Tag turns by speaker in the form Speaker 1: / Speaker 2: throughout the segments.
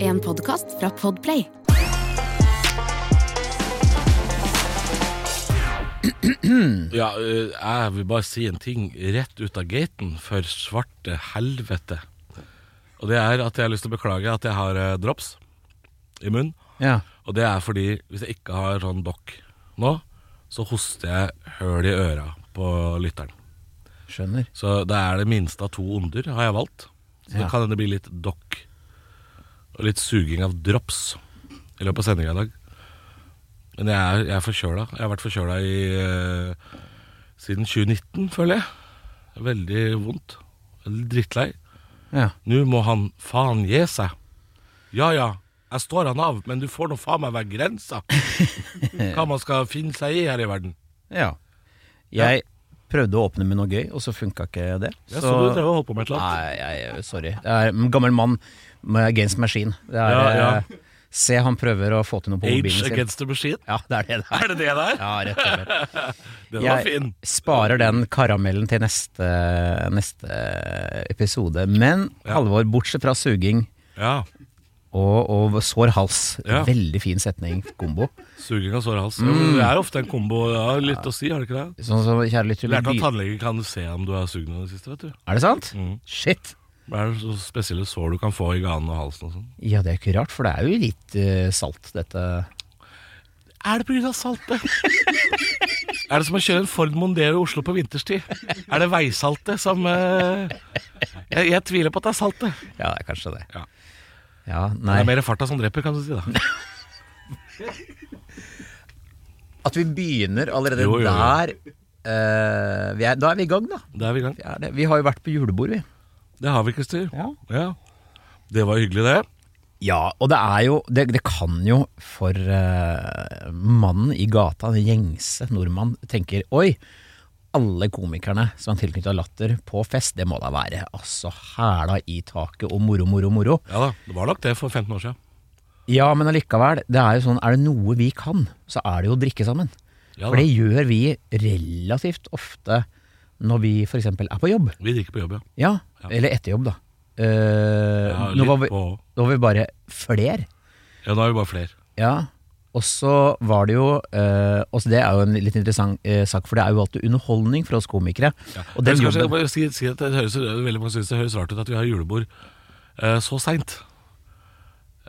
Speaker 1: en podkast fra Podplay.
Speaker 2: Ja, eh, jeg vil bare si en ting rett ut av gaten for svarte helvete. Og det er at jeg har lyst til å beklage at jeg har eh, drops i munnen.
Speaker 3: Ja.
Speaker 2: Og det er fordi hvis jeg ikke har sånn dokk nå, så hoster jeg høl i øra på lytteren.
Speaker 3: Skjønner.
Speaker 2: Så det er det minste av to onder har jeg valgt. Så
Speaker 3: Ja.
Speaker 2: det kan hende det blir litt dokk og litt suging av drops i løpet av sendinga i dag. Men jeg er, jeg er forkjøla. Jeg har vært forkjøla i eh, siden 2019, føler jeg. Veldig vondt. Veldig Drittlei.
Speaker 3: Ja.
Speaker 2: Nå må han faen gi seg. Ja ja, jeg står han av, men du får nå faen meg være grensa. Hva man skal finne seg i her i verden.
Speaker 3: ja. Jeg prøvde å åpne med noe gøy, og så funka ikke det.
Speaker 2: Jeg så, du drev og holdt på med et eller annet.
Speaker 3: Nei, jeg, sorry. Det er en gammel mann med against machine. Det er,
Speaker 2: Ja, ja.
Speaker 3: eh, Se, han prøver å få til noe på
Speaker 2: Age
Speaker 3: mobilen sin.
Speaker 2: against the machine.
Speaker 3: Ja, det er det det er.
Speaker 2: Er det det der?
Speaker 3: Ja, rett og slett.
Speaker 2: Den var
Speaker 3: Jeg
Speaker 2: fin.
Speaker 3: sparer den karamellen til neste, neste episode. Men Halvor, bortsett fra suging
Speaker 2: Ja.
Speaker 3: og, og sår hals,
Speaker 2: Ja.
Speaker 3: veldig fin setning, kombo.
Speaker 2: Suging av sår hals.
Speaker 3: Mm.
Speaker 2: Det er ofte en kombo. Det har litt å si, har det ikke det?
Speaker 3: Sånn som kjære lytter,
Speaker 2: Lærte at tannlegen kan se om du har sugd noe i det siste, vet du.
Speaker 3: er det sant?
Speaker 2: Mm.
Speaker 3: Shit!
Speaker 2: Hva er det så spesielle sår du kan få i ganen og halsen og sånn?
Speaker 3: Ja, det er ikke rart, for det er jo litt eh, salt, dette.
Speaker 2: Er det pga. saltet? er det som å kjøre en Ford Mondeo i Oslo på vinterstid? Er det veisaltet som eh, jeg, jeg tviler på at det er saltet.
Speaker 3: Ja, det er kanskje det.
Speaker 2: Ja.
Speaker 3: Ja,
Speaker 2: Det
Speaker 3: nei.
Speaker 2: er mer farta som dreper, kan du si. da
Speaker 3: At vi begynner allerede
Speaker 2: Jo, jo, jo.
Speaker 3: der eh, vi er, Da er vi i gang, da.
Speaker 2: Da er vi i gang.
Speaker 3: Vi, er det. vi har jo vært på julebord, vi.
Speaker 2: Det har vi, Christer.
Speaker 3: Ja.
Speaker 2: Ja. Det var hyggelig, det.
Speaker 3: og det er jo Det, det kan jo for eh, mannen i gata, den gjengse nordmann, tenker Oi, alle komikerne som er tilknytta Latter på fest, det må da være altså hæla i taket og moro, moro, moro.
Speaker 2: Ja da, Det var nok det for 15 år siden.
Speaker 3: Ja, men allikevel, det er jo sånn Er det noe vi kan, så er det jo å drikke sammen.
Speaker 2: Ja,
Speaker 3: For
Speaker 2: da.
Speaker 3: det gjør vi relativt ofte når vi f.eks. er på jobb.
Speaker 2: Vi drikker på jobb, ja.
Speaker 3: Ja,
Speaker 2: Ja.
Speaker 3: eller etter jobb, da. Eh,
Speaker 2: Ja,
Speaker 3: nå,
Speaker 2: litt
Speaker 3: var vi,
Speaker 2: på.
Speaker 3: nå var vi bare fler.
Speaker 2: ja nå er vi bare flere.
Speaker 3: Ja. Og så var det jo eh, også Det er jo en litt interessant eh, sak, for det er jo alltid underholdning for oss komikere. Og
Speaker 2: Men
Speaker 3: den
Speaker 2: skal jeg
Speaker 3: jobben
Speaker 2: bare si, si at det høres, veldig mange synes det høres rart ut at vi har julebord eh, så seint.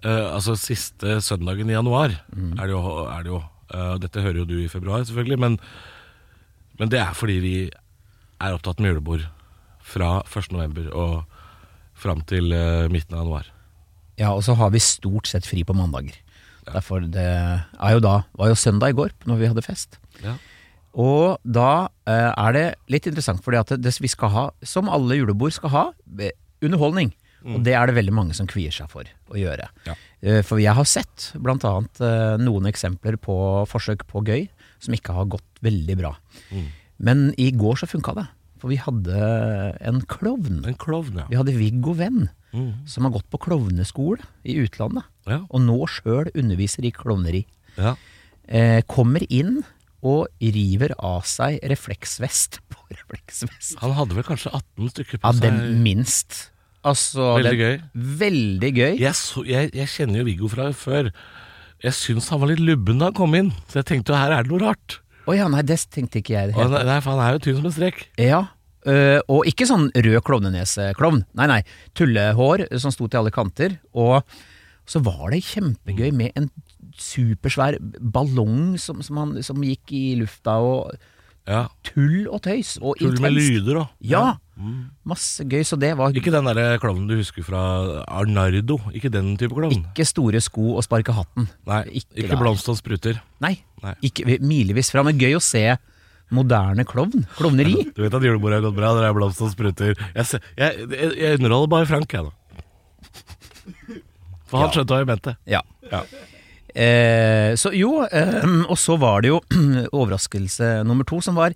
Speaker 2: Eh, altså siste søndagen i januar
Speaker 3: Mm.
Speaker 2: er det jo. Er det jo. Eh, dette hører jo du i februar, selvfølgelig, men, men det er fordi vi er opptatt med julebord fra 1. november og fram til eh, midten av januar.
Speaker 3: Ja, og så har vi stort sett fri på mandager. Derfor det er jo da var jo søndag i går, når vi hadde fest.
Speaker 2: Ja.
Speaker 3: Og da eh, er det litt interessant, fordi at det, vi skal ha, som alle julebord skal ha, eh, underholdning. Og det er det veldig mange som kvier seg for å gjøre.
Speaker 2: Ja.
Speaker 3: Eh, For jeg har sett blant annet eh, noen eksempler på forsøk på gøy som ikke har gått veldig bra. Men i går så funka det. For vi hadde en klovn.
Speaker 2: En klovn, ja.
Speaker 3: Vi hadde Viggo Venn,
Speaker 2: Mhm.
Speaker 3: som har gått på klovneskole i utlandet.
Speaker 2: Ja.
Speaker 3: Og nå sjøl underviser i klovneri.
Speaker 2: ja.
Speaker 3: Eh, kommer inn og river av seg refleksvest på refleksvest.
Speaker 2: Han hadde vel kanskje 18 stykker på
Speaker 3: Ja, den
Speaker 2: seg.
Speaker 3: minst. Altså,
Speaker 2: Veldig
Speaker 3: den,
Speaker 2: gøy.
Speaker 3: Veldig gøy.
Speaker 2: jeg, så, jeg, jeg kjenner jo Viggo fra før. Jeg syns han var litt lubben da han kom inn, så jeg tenkte jo her er det noe rart.
Speaker 3: Å ja, nei, det tenkte ikke jeg.
Speaker 2: Og han,
Speaker 3: Helt.
Speaker 2: nei, for han er jo tynn som en strek.
Speaker 3: Ja, øh, og ikke sånn rød klovneneseklovn. Nei, nei. Tullehår som sto til alle kanter. Og så var det kjempegøy
Speaker 2: Mm.
Speaker 3: med en supersvær ballong som, som, han, som gikk i lufta, og
Speaker 2: Ja,
Speaker 3: tull og tøys. Og
Speaker 2: Full med Mm.
Speaker 3: intenst.
Speaker 2: lyder og
Speaker 3: Ja! Masse gøy, så det var
Speaker 2: Ikke den der klovnen du husker fra Arnardo. Ikke den type klovn.
Speaker 3: Ikke store sko og sparke hatten.
Speaker 2: Nei,
Speaker 3: ikke
Speaker 2: ikke,
Speaker 3: der.
Speaker 2: blomst og spruter.
Speaker 3: Nei,
Speaker 2: Nei.
Speaker 3: ikke milevis fra, men gøy å se moderne klovn. Klovneri.
Speaker 2: Du vet at julebordet har gått bra, det er blomst og spruter. Jeg, se- jeg, jeg, jeg underholder bare Frank, jeg, da. For han skjønte hva jeg mente.
Speaker 3: Ja.
Speaker 2: Ja.
Speaker 3: Eh, så jo, eh, og så var det jo overraskelse nummer to, som var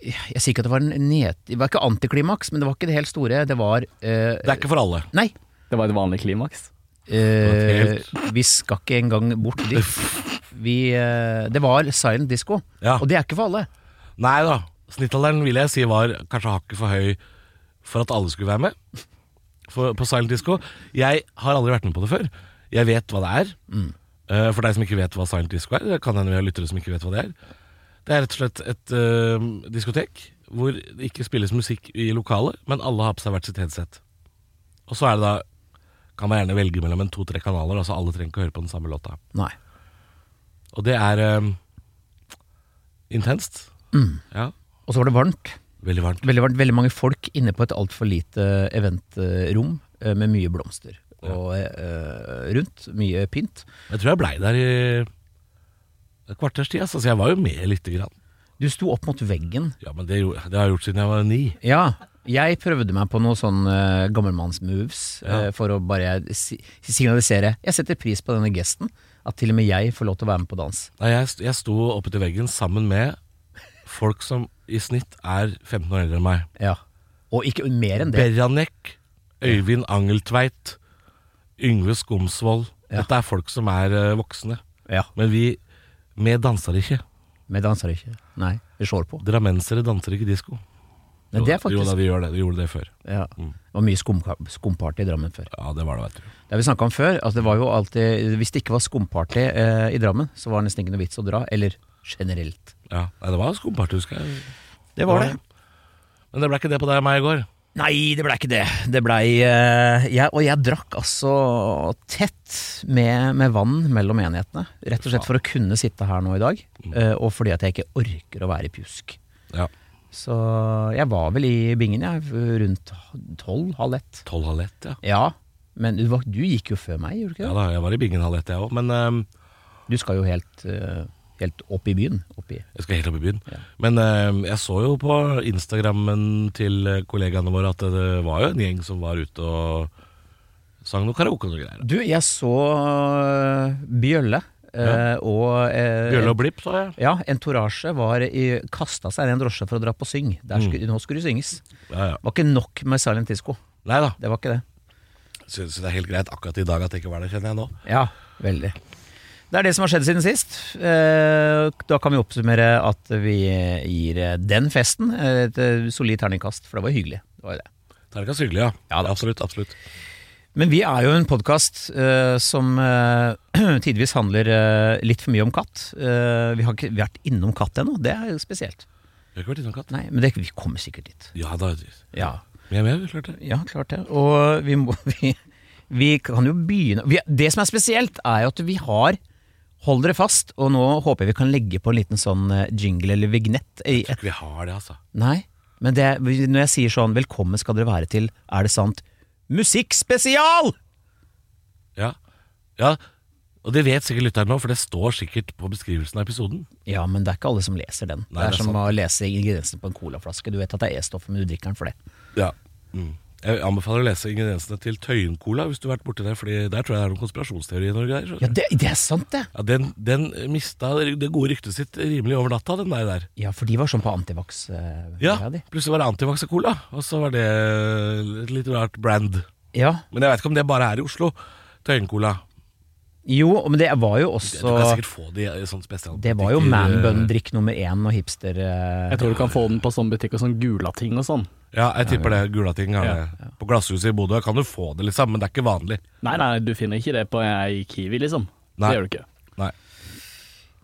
Speaker 3: Jeg sier ikke at det var en ned... Det var ikke antiklimaks, men det var ikke det helt store. Det var eh,
Speaker 2: Det er ikke for alle.
Speaker 3: Nei.
Speaker 4: Det var et vanlig klimaks.
Speaker 3: Eh,
Speaker 2: Det
Speaker 3: vi skal ikke engang bort dit. Vi, eh, det var silent disco,
Speaker 2: Ja.
Speaker 3: og det er ikke for alle.
Speaker 2: Nei da. Snittalderen vil jeg si var kanskje hakket for høy for at alle skulle være med. for, på silent disco. Jeg har aldri vært med på det før. Jeg vet hva det er. Eh, for deg som ikke vet hva silent disco er, det kan hende vi har lyttere som ikke vet hva det er. Det er rett og slett et eh, diskotek hvor det ikke spilles musikk i lokalet, men alle har på seg hvert sitt headset. Og så er det da kan man gjerne velge mellom en to-tre kanaler, altså alle trenger ikke å høre på den samme låta.
Speaker 3: Nei.
Speaker 2: Og det er eh, intenst. Ja,
Speaker 3: Og så var det varmt.
Speaker 2: veldig varmt.
Speaker 3: Veldig varmt. Veldig mange folk inne på et altfor lite eventrom eh, med mye blomster. Og eh, rundt. Mye pynt.
Speaker 2: Jeg tror jeg blei der i et kvarters tid, altså. så jeg var jo med lite grann.
Speaker 3: Du sto opp mot veggen.
Speaker 2: Ja, men det, gjo- det har jeg gjort siden jeg var ni.
Speaker 3: Ja, jeg prøvde meg på noen sånn uh, gammelmannsmoves
Speaker 2: Ja.
Speaker 3: eh, for å bare si signalisere. Jeg setter pris på denne gesten, at til og med jeg får lov til å være med på dans.
Speaker 2: Nei, jeg, st- jeg sto oppe til veggen sammen med folk som i snitt er 15 år eldre enn meg.
Speaker 3: Ja. Og ikke mer enn det.
Speaker 2: Beranek, Øyvind Angeltveit, Yngve Skomsvold.
Speaker 3: Ja.
Speaker 2: Dette er folk som er eh, voksne.
Speaker 3: Ja,
Speaker 2: Men vi, vi danser ikke.
Speaker 3: Vi danser ikke. Nei, vi slår på.
Speaker 2: Drammensere danser ikke disko.
Speaker 3: Nei, det er
Speaker 2: Jo da,
Speaker 3: faktisk
Speaker 2: vi gjør det. Mm. Vi gjorde det før.
Speaker 3: ja. Det var mye skumka- skumparty i Drammen før.
Speaker 2: Ja, det var det, vet du.
Speaker 3: Det har vi snakka om før. Altså, det var jo alltid, hvis det ikke var skumparty eh, i Drammen, så var det nesten ikke noe vits å dra. Eller generelt.
Speaker 2: Ja, Nei, det var skummelt, husker jeg.
Speaker 3: Det var det.
Speaker 2: Men det ble ikke det på deg og meg i går.
Speaker 3: Nei, det blei ikke det. Det blei eh, jeg, Og jeg drakk altså tett med, med vann mellom enhetene. Rett og slett for å kunne sitte her nå i dag, eh, og fordi at jeg ikke orker å være i pjusk.
Speaker 2: Ja,
Speaker 3: Så jeg var vel i bingen, jeg, rundt tolv, halv ett.
Speaker 2: Tolv halv ett, ja.
Speaker 3: Ja, men du, var, du gikk jo før meg, gjorde du
Speaker 2: Ja
Speaker 3: ikke det?
Speaker 2: da, Jeg var i bingen halv ett, jeg òg. Men ehm,
Speaker 3: Du skal jo helt, eh, helt opp i byen. Opp i.
Speaker 2: jeg skal helt opp i byen.
Speaker 3: Ja.
Speaker 2: Men ehm, jeg så jo på Instagrammen til eh, kollegaene våre at det var jo en gjeng som var ute og sang noe karaoke og noe greier.
Speaker 3: Du, jeg så eh, Bjølle eh, og eh,
Speaker 2: Bjølle og Blipp, så jeg.
Speaker 3: Ja, Entourage var i- kasta seg ned i en drosje for å dra på syng. Der skulle, Nå skulle det synges. Det
Speaker 2: Ja, ja.
Speaker 3: var ikke nok med silent disco.
Speaker 2: Nei da,
Speaker 3: Det var ikke det.
Speaker 2: så, så det er helt greit akkurat i dag at jeg ikke var der, kjenner jeg nå.
Speaker 3: Ja, veldig. Det er det som har skjedd siden sist. Eh, Da kan vi oppsummere at vi gir eh, den festen et eh, solid terningkast, for det var hyggelig. Det var jo det.
Speaker 2: Terningkast hyggelig, ja.
Speaker 3: Ja da.
Speaker 2: Absolutt. absolutt
Speaker 3: Men vi er jo en podkast eh, som eh, tidvis handler eh, litt for mye om katt. Eh, vi har ikke vært innom katt ennå, det er jo spesielt.
Speaker 2: Vi har ikke vært innom katt.
Speaker 3: Nei, Men det, vi kommer sikkert dit.
Speaker 2: Ja da.
Speaker 3: Ja,
Speaker 2: Vi er med, vi klart det.
Speaker 3: Ja, klart det. Og vi, må, vi, vi kan jo begynne vi, Det som er spesielt, er jo at vi har Hold dere fast, og nå håper jeg vi kan legge på en liten sånn eh, jingle eller vignett. I
Speaker 2: Jeg tror
Speaker 3: et,
Speaker 2: ikke vi har det, altså.
Speaker 3: nei, men det, når jeg sier sånn 'velkommen skal dere være til', er det sant? Musikkspesial!
Speaker 2: Ja. ja. Og det vet sikkert lytteren nå, for det står sikkert på beskrivelsen av episoden.
Speaker 3: Ja, men det er ikke alle som leser den.
Speaker 2: Nei,
Speaker 3: det, er
Speaker 2: det er
Speaker 3: som
Speaker 2: sant.
Speaker 3: å lese ingrediensene på en colaflaske. Du vet at det er E-stoffet, men du drikker den for det.
Speaker 2: Ja. Mm. Jeg anbefaler å lese ingrediensene til Tøyen-cola hvis du har vært borti det, Fordi der tror jeg det er noen konspirasjonsteori i Norge. Der,
Speaker 3: Ja,
Speaker 2: ja.
Speaker 3: det, det er sant, det!
Speaker 2: Ja, den, den mista det gode ryktet sitt rimelig over natta, den der. der.
Speaker 3: Ja, for de var sånn på antivax. Eh,
Speaker 2: Ja,
Speaker 3: greia di.
Speaker 2: Plutselig var det Antivax-cola, og så var det et litt rart brand.
Speaker 3: ja.
Speaker 2: Men jeg veit ikke om det bare er i Oslo. Tøyen-cola.
Speaker 3: Jo, men det var jo
Speaker 2: Du
Speaker 3: også
Speaker 2: kan sikkert få det i sånn spesial.
Speaker 3: Det var jo man bun-drikk nummer én og hipster eh,
Speaker 1: Jeg tror du kan få den på sånn butikk og sånn gulating og sånn.
Speaker 2: Ja, jeg tipper det. Gulating. har det. På Glasshuset i Bodø kan du få det, liksom, men det er ikke vanlig.
Speaker 1: Nei, nei, du finner ikke det på ei Kiwi, liksom.
Speaker 2: Nei.
Speaker 1: Det gjør du ikke.
Speaker 2: Nei.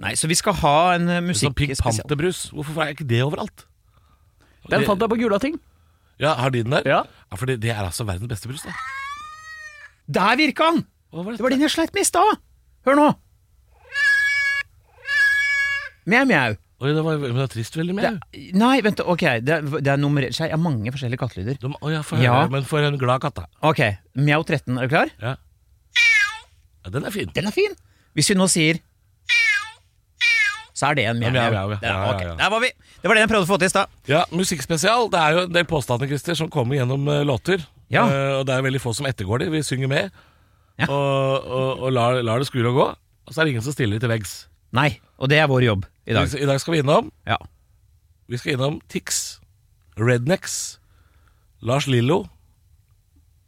Speaker 3: Nei, så vi skal ha en eh,
Speaker 2: Sånn Pink
Speaker 3: musikkspesial.
Speaker 2: Panther-brus. Hvorfor er ikke det overalt?
Speaker 1: Den
Speaker 2: Det-
Speaker 1: fant jeg på Gulating.
Speaker 2: Ja, Har de den der?
Speaker 1: Ja.
Speaker 2: for det, det er altså verdens beste brus, det.
Speaker 3: Der virka han!
Speaker 2: Hva
Speaker 3: Det var den jeg sleit med i stad! Hør nå! Mjau, mjau.
Speaker 2: Oi, det var, men det var trist veldig
Speaker 3: Det
Speaker 2: mye.
Speaker 3: er- Nei, vent, ok. Det er, det er nummer Jeg har mange forskjellige kattelyder.
Speaker 2: De, å, ja, for,
Speaker 3: Ja.
Speaker 2: Men for en glad katt, da.
Speaker 3: Ok, mjau 13, er du klar?
Speaker 2: Ja. ja, den er fin.
Speaker 3: Den er fin! Hvis vi nå sier så er det en mjau.
Speaker 2: Ja, mjau, mjau, ja.
Speaker 3: Der,
Speaker 2: Ja, ja,
Speaker 3: ok,
Speaker 2: ja.
Speaker 3: Der var vi! Det var det jeg prøvde å få til i stad.
Speaker 2: Ja, Musikkspesial. Det er jo en del påstander Christer, som kommer gjennom eh, låter.
Speaker 3: Ja.
Speaker 2: Eh, og det er veldig få som ettergår de. Vi synger med.
Speaker 3: Ja.
Speaker 2: Og, og, og lar, lar det skure og gå. Og så er det ingen som stiller til veggs.
Speaker 3: Nei, og det er vår jobb i dag.
Speaker 2: I dag skal vi innom
Speaker 3: Ja.
Speaker 2: Vi skal innom Tix, Rednecks, Lars Lillo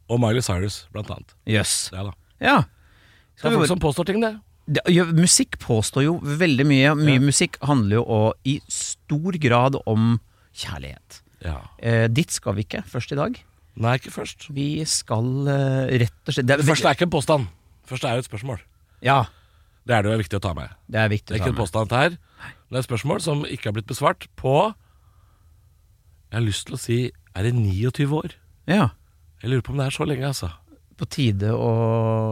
Speaker 2: og Miley Cyrus, blant annet.
Speaker 3: Jøss.
Speaker 2: Det er, da.
Speaker 3: Ja.
Speaker 2: det er folk som påstår ting, det.
Speaker 3: det, ja, musikk påstår jo veldig mye. Mye musikk handler jo også, i stor grad om kjærlighet.
Speaker 2: Ja.
Speaker 3: Eh, dit skal vi ikke først i dag.
Speaker 2: Nei, ikke først.
Speaker 3: Vi skal eh, rett og slett det
Speaker 2: Det første er ikke en påstand. Første er jo et spørsmål.
Speaker 3: Ja,
Speaker 2: Det er det jo viktig å ta med.
Speaker 3: det er viktig
Speaker 2: Det er
Speaker 3: å
Speaker 2: ikke
Speaker 3: ta
Speaker 2: en
Speaker 3: med.
Speaker 2: påstand her. Det er et spørsmål som ikke har blitt besvart på Jeg har lyst til å si Er det 29 år?
Speaker 3: Ja,
Speaker 2: Jeg lurer på om det er så lenge, altså.
Speaker 3: på tide å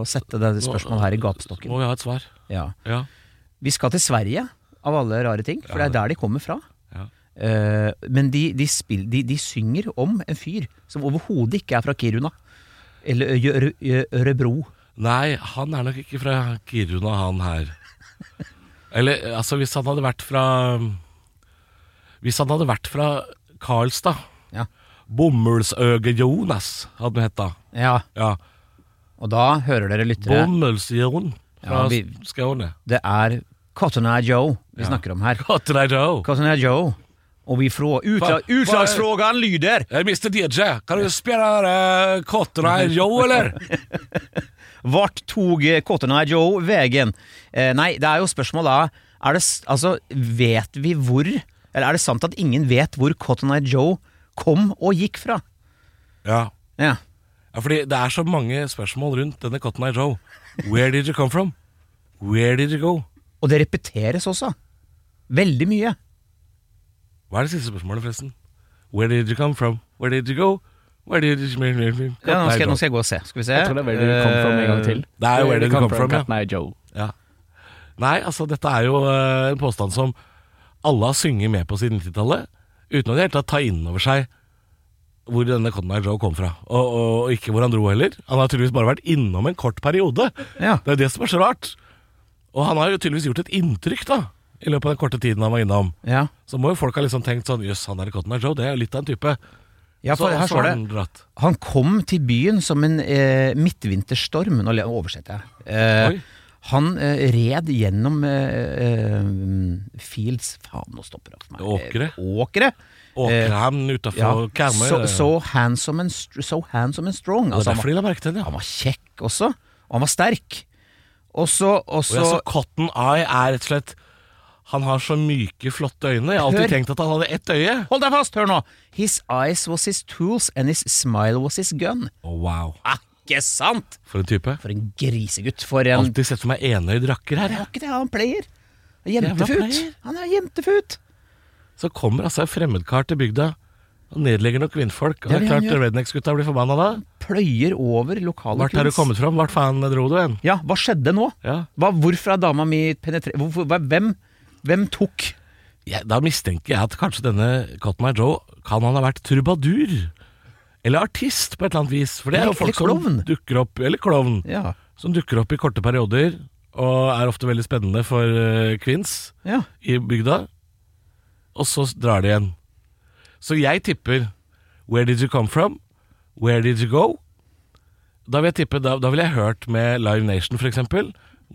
Speaker 3: sette det spørsmålet her i gapestokken.
Speaker 2: Må vi ha et svar?
Speaker 3: Ja.
Speaker 2: Ja.
Speaker 3: Vi skal til Sverige, av alle rare ting, for det er der de kommer fra.
Speaker 2: ja.
Speaker 3: Eh, men de, de, spill, de, de synger om en fyr som overhodet ikke er fra Kiruna. Eller Ø- Ø- Ø- Ørebro.
Speaker 2: Nei, han er nok ikke fra Kiruna, han her. Eller, altså, hvis han hadde vært fra Hvis han hadde vært fra Karlstad
Speaker 3: Ja.
Speaker 2: Bomullsøge-Jonas hadde han hett da.
Speaker 3: ja,
Speaker 2: Ja.
Speaker 3: og da hører dere lyttere.
Speaker 2: Bommelsjon fra
Speaker 3: Ja, vi-
Speaker 2: Skåne.
Speaker 3: Det er Cotton Eye Joe vi snakker om her.
Speaker 2: Cotton Eye Joe.
Speaker 3: Cotton Eye Joe. Og vi fra
Speaker 2: Hva-
Speaker 3: utla,
Speaker 2: hva er-
Speaker 3: Utslagsfrågan lyder
Speaker 2: Eh, Mr. DJ, kan du spille uh, Cotton Eye Joe, eller?
Speaker 3: Vart tog eh, Cotton Eye Joe vegen? Eh, nei, det er jo spørsmål da er det, s- Altså, vet vi hvor Eller er det sant at ingen vet hvor Cotton Eye Joe kom og gikk fra?
Speaker 2: ja.
Speaker 3: Ja.
Speaker 2: ja, fordi det er så mange spørsmål rundt denne Cotton Eye Joe. Where did you come from? Where did you go?
Speaker 3: Og det repeteres også. Veldig mye.
Speaker 2: Hva er det siste spørsmålet, forresten? Where did you come from? Where did you go? Where did you Cotton
Speaker 3: Ja, nå,
Speaker 2: Eye
Speaker 3: skal,
Speaker 2: Joe.
Speaker 3: nå skal jeg gå og se. Skal vi se. Eh,
Speaker 1: Jeg tror det er Where Did You Come From en gang til.
Speaker 2: Det er jo Where Did You Come From, ja.
Speaker 1: Cotton Eye Joe.
Speaker 2: Ja. Nei, altså, dette er jo eh, en påstand som alle har sunget med på siden 90-tallet, uten å i det hele tatt ta inn over seg hvor denne Cotton Eye Joe kom fra. Og, og, og ikke hvor han dro heller. Han har tydeligvis bare vært innom en kort periode.
Speaker 3: Ja.
Speaker 2: Det er jo det som er så rart. Og han har jo tydeligvis gjort et inntrykk, da, i løpet av den korte tiden han var innom.
Speaker 3: Ja.
Speaker 2: Så må jo folk ha liksom tenkt sånn Jøss, han der Cotton Eye Joe, det er jo litt av en type.
Speaker 3: ja, for
Speaker 2: så,
Speaker 3: her
Speaker 2: så
Speaker 3: står
Speaker 2: har
Speaker 3: det
Speaker 2: han dratt.
Speaker 3: Han kom til byen som en eh, midtvinterstorm. Nå le- oversetter jeg. Eh,
Speaker 2: Oi.
Speaker 3: han eh, red gjennom eh, eh, fields Faen, nå stopper det for meg.
Speaker 2: Åkre.
Speaker 3: Eh, Åkre.
Speaker 2: Åkerhamn
Speaker 3: Eh, Ja.
Speaker 2: utafor Karmøy.
Speaker 3: So, so,
Speaker 2: det
Speaker 3: handsome and str so handsome and strong.
Speaker 2: var
Speaker 3: Altså, han,
Speaker 2: derfor de la merke til den,
Speaker 3: var,
Speaker 2: ja.
Speaker 3: han var kjekk også, og han var sterk. Og så og
Speaker 2: Og ja, så
Speaker 3: så-
Speaker 2: Cotton Eye er rett og slett Han har så myke, flotte øyne. Jeg har alltid
Speaker 3: Hør.
Speaker 2: tenkt at han hadde ett øye.
Speaker 3: Hold deg fast, hør nå! His eyes was his tools, and his smile was his gun.
Speaker 2: Å, wow.
Speaker 3: Ah, ikke sant?
Speaker 2: For en type.
Speaker 3: For en grisegutt. For en
Speaker 2: Alltid sett for meg enøyd rakker her.
Speaker 3: Det
Speaker 2: jeg.
Speaker 3: var ikke det, han player. Han er
Speaker 2: Jævla
Speaker 3: Jentefut.
Speaker 2: player.
Speaker 3: Han er jentefut.
Speaker 2: Så kommer altså en fremmedkar til bygda og nedlegger noen kvinnfolk. Og
Speaker 3: Det er
Speaker 2: det er
Speaker 3: det han
Speaker 2: klart
Speaker 3: gjør.
Speaker 2: rednecks-gutta blir forbanna da.
Speaker 3: Pløyer over lokale
Speaker 2: Hvert har du
Speaker 3: kunst.
Speaker 2: kommet fram? Hvert faen dro du hen?
Speaker 3: Ja, hva skjedde nå?
Speaker 2: Ja.
Speaker 3: Hva, hvorfor er dama mi penetrert hvorfor, hva- hvem, hvem tok
Speaker 2: Jeg- da mistenker jeg at kanskje denne Cotton Eye Joe kan han ha vært trubadur. Eller artist, på et eller annet vis. For det er jo
Speaker 3: Eller-
Speaker 2: folk
Speaker 3: eller
Speaker 2: som
Speaker 3: klovn.
Speaker 2: dukker opp Eller klovn.
Speaker 3: Ja.
Speaker 2: Som dukker opp i korte perioder, og er ofte veldig spennende for eh, kvinns.
Speaker 3: ja.
Speaker 2: i bygda, og så drar de igjen. Så jeg tipper Where did you come from? Where did you go? Da vil jeg tippe, da, da ville jeg hørt med Live Nation f.eks.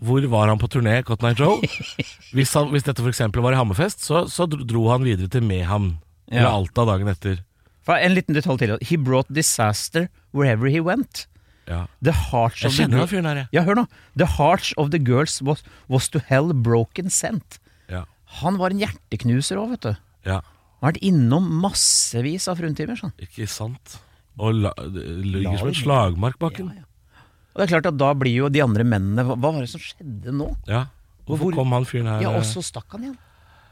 Speaker 2: Hvor var han på turné, Cotton Eye Joe? Hvis, han, hvis dette f.eks. var i Hammerfest, så, så dro- dro han videre til Mehamn.
Speaker 3: Ja.
Speaker 2: Eller Alta dagen etter.
Speaker 3: For En liten detalj til. He brought disaster wherever he went.
Speaker 2: Ja.
Speaker 3: The hearts
Speaker 2: Jeg
Speaker 3: of the
Speaker 2: kjenner
Speaker 3: girl-
Speaker 2: han fyren her, jeg.
Speaker 3: Ja, hør nå. The hearts of the girls was, was to hell broken sent.
Speaker 2: Ja.
Speaker 3: Han var en hjerteknuser òg, vet du.
Speaker 2: ja.
Speaker 3: Han har vært innom massevis av fruntimer. Sånn.
Speaker 2: Ikke sant? Og la, det ligger som en slagmark bak den.
Speaker 3: Og det er klart at da blir jo de andre mennene Hva, hva var det som skjedde nå?
Speaker 2: Ja. Hvorfor
Speaker 3: Hvor-
Speaker 2: kom han fyren her?
Speaker 3: Ja,
Speaker 2: eh?
Speaker 3: og så stakk han igjen.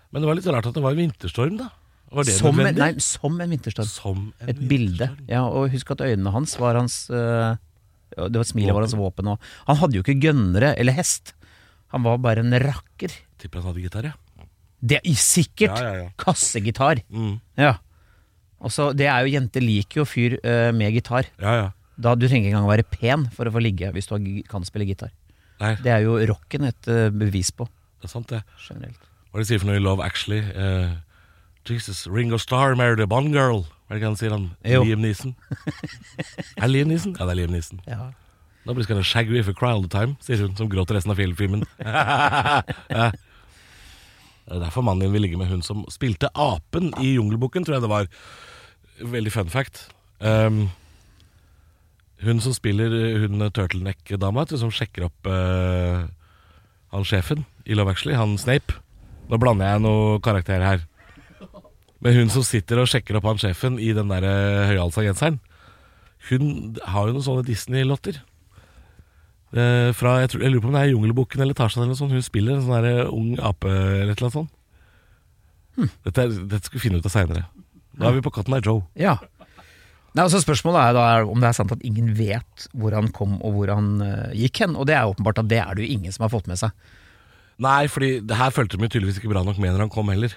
Speaker 2: Men det var litt rart at det var en vinterstorm, da. Var det
Speaker 3: Som en,
Speaker 2: nødvendig?
Speaker 3: nei, som en vinterstorm.
Speaker 2: Som en
Speaker 3: Et bilde.
Speaker 2: vinterstorm.
Speaker 3: Ja, og husk at øynene hans var hans øh, ja, Det var Smilet var hans våpen òg. Han hadde jo ikke gønnere eller hest. Han var bare en rakker.
Speaker 2: Tipper han hadde gitar, ja.
Speaker 3: Det er sikkert!
Speaker 2: Ja, ja, ja.
Speaker 3: Kassegitar.
Speaker 2: Mm.
Speaker 3: Ja. Og så, det er jo Jenter liker jo fyr øh, med gitar.
Speaker 2: Ja, ja.
Speaker 3: Da Du trenger ikke engang å være pen for å få ligge hvis du har gi- kan spille gitar.
Speaker 2: Nei,
Speaker 3: Det er jo rocken et øh, bevis på,
Speaker 2: det er sant, det.
Speaker 3: generelt.
Speaker 2: Hva er det de sier for noe i Love Actually? Eh, Jesus, Ringo Starr married a Bond girl. Hva er det ikke han sier, han?
Speaker 3: Jo.
Speaker 2: Liam Neeson. er det Liam Neeson? Ja, det er Liam Neeson.
Speaker 3: Ja.
Speaker 2: Nobody's gonna shag you if you cry all the time, sier hun, som gråter resten av hele filmen. Ja. Det er derfor mannen din vil ligge med hun som spilte apen i Jungelboken, tror jeg det var. Veldig fun fact. Um, hun som spiller eh, hun turtleneck-dama, vet du, som sjekker opp eh, han sjefen i Love Actually, han Snape. Nå blander jeg noen karakterer her. Men hun som sitter og sjekker opp han sjefen i den der eh, høyhalsa genseren Hun har jo noen sånne Disney-lotter. Eh, fra, jeg, tror, jeg lurer på om det er Jungelbukken eller Tarzan eller noe sånt. Hun spiller en sånn der, eh, ung ape eller et eller annet sånt.
Speaker 3: Hm.
Speaker 2: Dette, er, dette skal vi finne ut av seinere. Nå er vi på Cotton Eye Joe.
Speaker 3: Ja. Nei, altså Spørsmålet er da er om det er sant at ingen vet hvor han kom og hvor han eh, gikk hen. Og det er åpenbart at det er det jo ingen som har fått med seg.
Speaker 2: Nei, fordi det her fulgte de tydeligvis ikke bra nok med når han kom heller.